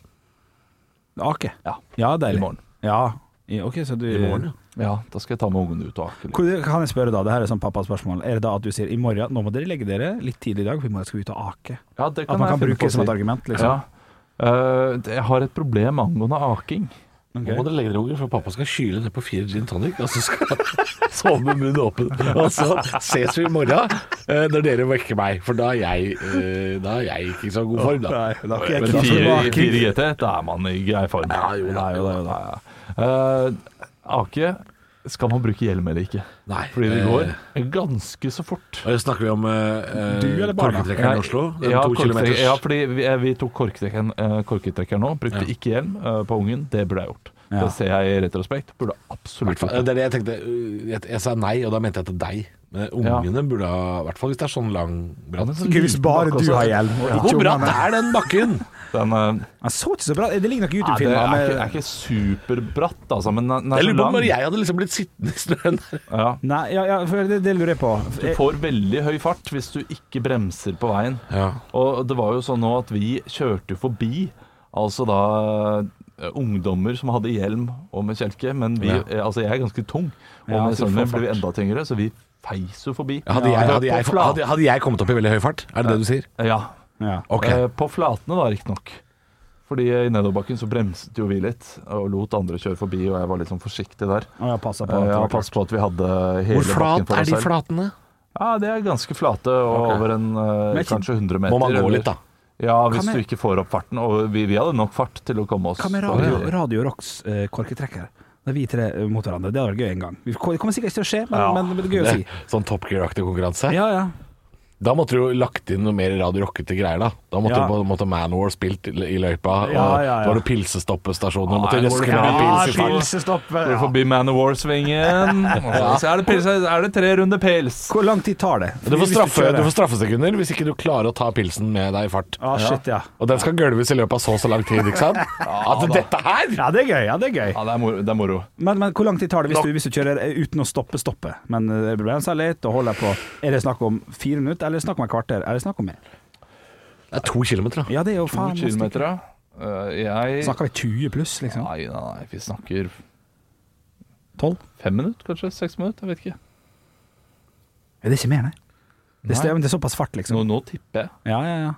Ake? Ja. ja deilig. i morgen? Ja. I, ok, så du I morgen, ja. Ja, da skal jeg ta med ungene ut og ake. litt. Hvor- Kan jeg spørre da, det her er sånn pappaspørsmål Er det da at du sier i morgen, nå må dere legge dere litt tidlig i dag For i morgen skal vi ut og ake Ja, det At man jeg kan finne bruke på å det som si. et argument liksom. Ja. Eh, det- jeg har et problem angående aking. Ok. Nå må dere legge dere, unger, for pappa skal kyle ned på fire gin tonic, og så skal han sove med munnen åpen. Og så ses vi i morgen eh, når dere vekker meg, for da er jeg, eh, da er jeg ikke i så god form, da. Nei, da er ikke Men jeg klar for å 4, ake. 4 GT, da er man i grei form. Ja, jo da, Ja, jo da, jo da. Eh, ake skal man bruke hjelm eller ikke? Nei, Fordi det eh, går ganske så fort. Og jeg snakker vi om eh, Du eller barna? korketrekkeren i Oslo? Den ja, to korketrekker- kilometers ja, fordi vi, eh, vi tok korketrekkeren, eh, korketrekkeren nå. Brukte ikke hjelm eh, på ungen. Det burde jeg gjort. Ja. Det ser jeg i retrospekt. Burde absolutt gjort Hvertfall, det. Eh, Det er det jeg tenkte. uh, Jeg, jeg sa nei, og da mente jeg til deg. Men ungene burde ha I hvert fall hvis det er sånn lang bratt. Ikke hvis bare du har hjelm. og ikke Hvor bratt ungene. er den bakken? Den, eh, Han så ikke så bra Det ligger noen nei, det er, YouTube-filmer ikke, er med ikke superbratt, altså, men den den Jeg er så lurer på om lang. bare jeg hadde liksom blitt sittende i snøen. Ja. Nei, ja, ja, for det, det lurer jeg på. Du Eh, får veldig høy fart hvis du ikke bremser på veien. Ja. Og det var jo sånn nå at vi kjørte forbi, altså da eh, ungdommer som hadde hjelm og med kjelke, men vi, Ja. eh, altså jeg er ganske tung, og Ja, med så du får sønnen min blir vi fart. enda tyngre, så vi feis jo forbi. Hadde, jeg, hadde, jeg, på flat- hadde, hadde jeg kommet opp i veldig høy fart? Er det det du sier? Ja, Ja. Ok. eh, på flatene da, riktignok. Fordi i nedoverbakken så bremset jo vi litt, og lot andre kjøre forbi, og jeg var litt sånn forsiktig der. Og jeg passer på. Eh, at det Jeg var har passet på at vi hadde hele Hvor bakken flat for er oss de selv. flatene? Ja, det er ganske flate, og Ok. over en eh, Men ikke- kanskje 100 meter. Må man gå eller- litt, da? Ja, Hva hvis med- du ikke får opp farten. Og vi, vi hadde nok fart til å komme oss Hva med over Radio, jorda. radio Rocks eh, korketrekker? Da vi tre eh, mot hverandre. Det hadde vært gøy en gang. Vi- Det kommer sikkert ikke til å skje, men, Ja. men, men det er gøy å si. Sånn Top Gear-aktig konkurranse? Ja, ja. Da måtte du jo lagt inn noe mer Radio Rockete greier, da. Da måtte, Ja. du på en måte Manowar spilt i i løypa, og Ja, ja, ja. da var det pilsestoppestasjoner. Måtte Nei, hvor røske det kan med være pilser. pils. pilsestopper. Går forbi Man of War-svingen. og Så er det, pils, er det tre runder pils. Hvor lang tid tar det? Du får, Hvis straffe, kjører- du får straffesekunder hvis ikke du klarer å ta pilsen med deg i fart. Ah, shit, ja. Og den skal gølves i løpet av så og så lang tid, ikke sant? At dette her Ja, det er gøy. ja, det er gøy Ja, det er moro. Det er moro. Men, men hvor lang tid tar det hvis du, hvis du kjører eh, uten å stoppe stoppet? Men eh, det bremser litt og holder på. Er det snakk om fire minutter, eller er det snakk om et kvarter? Er det snakk om mer? Det er to kilometer, da. Ja, det er jo To faen kilometer, ja. Eh, Jeg Snakker vi 20 pluss, liksom? Nei, nei, nei, vi snakker 12? fem minutter, kanskje? Seks minutter? Jeg vet ikke. Er det ikke mer, nei? Det, Nei. er- men det er såpass fart, liksom. Nå, nå tipper jeg. Ja, ja, ja.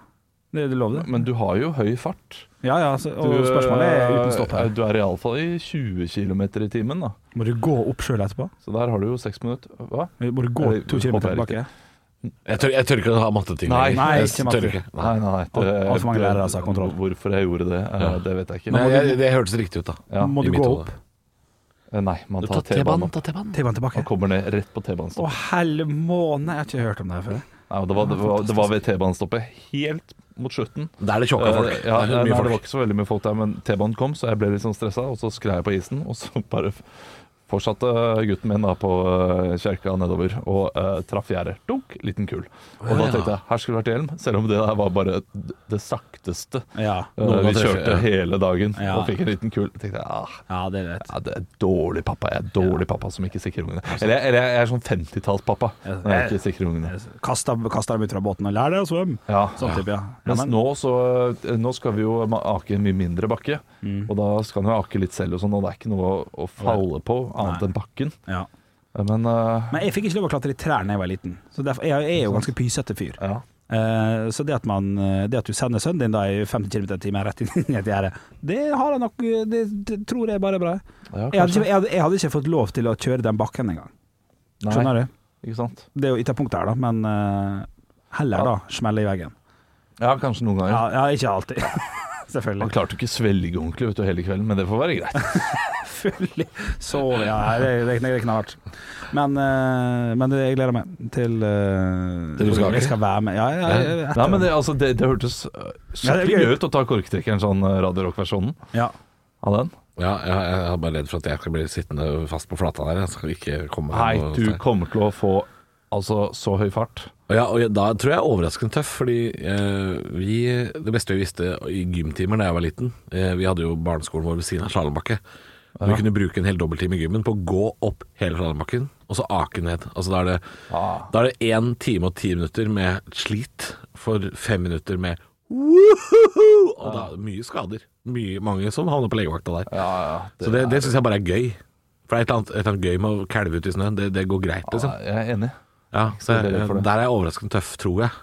Det, det lover det. Men du har jo høy fart. eh, Ja, ja, så, og spørsmålet er uten stopp her. Du er iallfall i 20 km i timen, da. Må du gå opp sjøl etterpå? Så der har du jo seks minutter. Hva? Må du gå Eller, to kilometer håper jeg tilbake? Jeg tør, jeg tør ikke å ha matteting Nei, lenger. nei, Jeg ikke tør matte. ikke. Nei. Nei, nei, nei. Alt- alt for mange lærere, altså, kontroll. Hvorfor jeg gjorde det, eh, det vet jeg ikke. Men jeg, det hørtes riktig ut, da. Ja, Må i du mitt gå hode. opp? Eh, Nei, man Du tar tar T-banen. T-banen. Ta T-banen. T-banen Man tilbake? kommer ned rett på T-banestoppet. Å helle måne, jeg har ikke hørt om det her før. Nei, og det, var, det, var, det var ved T-banestoppet helt mot slutten. Da er det tjokka folk. Eh, ja, det er nei, mye Det var folk. ikke så veldig mye folk der, men T-banen kom, så jeg ble litt sånn stressa, og så sklei jeg på isen, og så bare f- fortsatte gutten min da på eh, kjerka nedover og eh, traff gjerdet. Dunk, liten kul. Og da Ja. tenkte jeg her skulle det vært hjelm, selv om det der var bare d- det sakteste. Ja, eh, Noen har vi truffet, kjørte ja. hele dagen Ja. og fikk en liten kul. tenkte jeg, ah, ja det er rett. ja, det er dårlig pappa. Jeg er dårlig pappa som ikke sikrer ungene. Eller, eller jeg er sånn 50-tallspappa når jeg ikke sikrer ungene. Kasta dem ut fra båten og lær deg å svømme. Ja. Sånn type, ja. ja Mens men, nå, så, nå skal vi jo ma- ake en mye mindre bakke, Mm. og da skal en jo ake litt selv og sånn, og det er ikke noe å, å falle på annet Nei. enn bakken. ja. Men eh, men jeg fikk ikke lov å klatre i trær da jeg var liten, så derfor, jeg er jo ganske pysete fyr. ja. Eh, Så det at, man, det at du sender sønnen din da i 50 km i timen rett inn i et gjerde, det har han nok eh, Det, det tror jeg bare er bra. ja Jeg hadde, kanskje. ikke, jeg, hadde, jeg hadde ikke fått lov til å kjøre den bakken engang. Skjønner du? Nei, ikke sant? Det er jo ikke et punkt her, da, men eh, heller da smelle i veggen. Ja, kanskje noen ganger. Ja, ja ikke alltid. Han Selvfølgelig. klarte jo ikke å svelge ordentlig vet du, hele kvelden, men det får være greit. Selvfølgelig. Så ja, det, det, det er knallhardt. Men, eh, men det, jeg gleder meg til eh, Til du skal Jeg ikke? skal være med. Ja, ja, ja, etter- Nei, men det, altså, det, det hørtes eh, Ja, det er skikkelig gøy. gøy ut å ta korktrekkeren sånn eh, Radio Rock-versjonen ja. av den. Ja, jeg, jeg er bare redd for at jeg skal bli sittende fast på flata der. Jeg skal ikke komme Nei, noe du sted. kommer til å få altså, så høy fart. Og Ja, og jeg, da tror jeg jeg er overraskende tøff, fordi eh, vi, det beste vi visste i gymtimer da jeg var liten eh, Vi hadde jo barneskolen vår ved siden av slalåmbakke. Vi kunne bruke en hel dobbelttime i gymmen på å gå opp hele slalåmbakken, og så ake ned. Altså Da er det- da er det én time og ti minutter med slit for fem minutter med woohoo! Og da mye skader. Mye, mange som havner på legevakta der. så det, det syns jeg bare er gøy. For det er et eller annet, et eller annet gøy med å kalve ut i snøen. Det, det går greit, liksom. Ja, jeg er enig. Ja, så veldig redd jeg, for det. der er jeg overraskende tøff, tror jeg.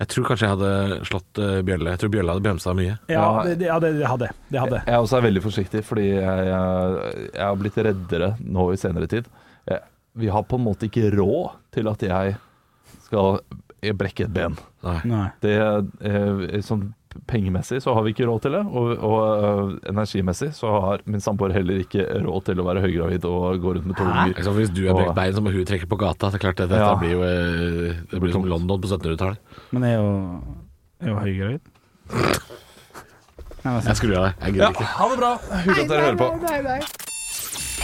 Jeg tror kanskje jeg hadde slått eh, Bjølle. Jeg tror Bjølle hadde bremsa mye. ja, det, det, ja, det, det hadde jeg. det. Hadde. jeg. Jeg også er veldig forsiktig, fordi jeg, jeg, jeg har blitt reddere nå i senere tid. Jeg, vi har på en måte ikke råd til at jeg skal brekke et ben. Nei. Nei. Det, eh, sånn pengemessig så har vi ikke råd til det, og, og eh, energimessig så har min samboer heller ikke råd til å være høygravid og gå rundt med to unger. Altså, hvis du har brekt bein, så må hun trekke på gata. Det er klart, det, dette Ja. blir jo eh, det blir som London på 1700-tallet. Men jeg er jo, jeg er jo høygravid. Nei, men Jeg skrur av deg. Ja, Jeg gidder ikke. ha det bra! Hyggelig at dere hører på.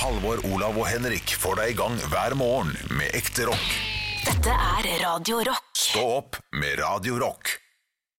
Halvor, Olav og Henrik får deg i gang hver morgen med ekte rock. Dette er Radio Rock. Stå opp med Radio Rock.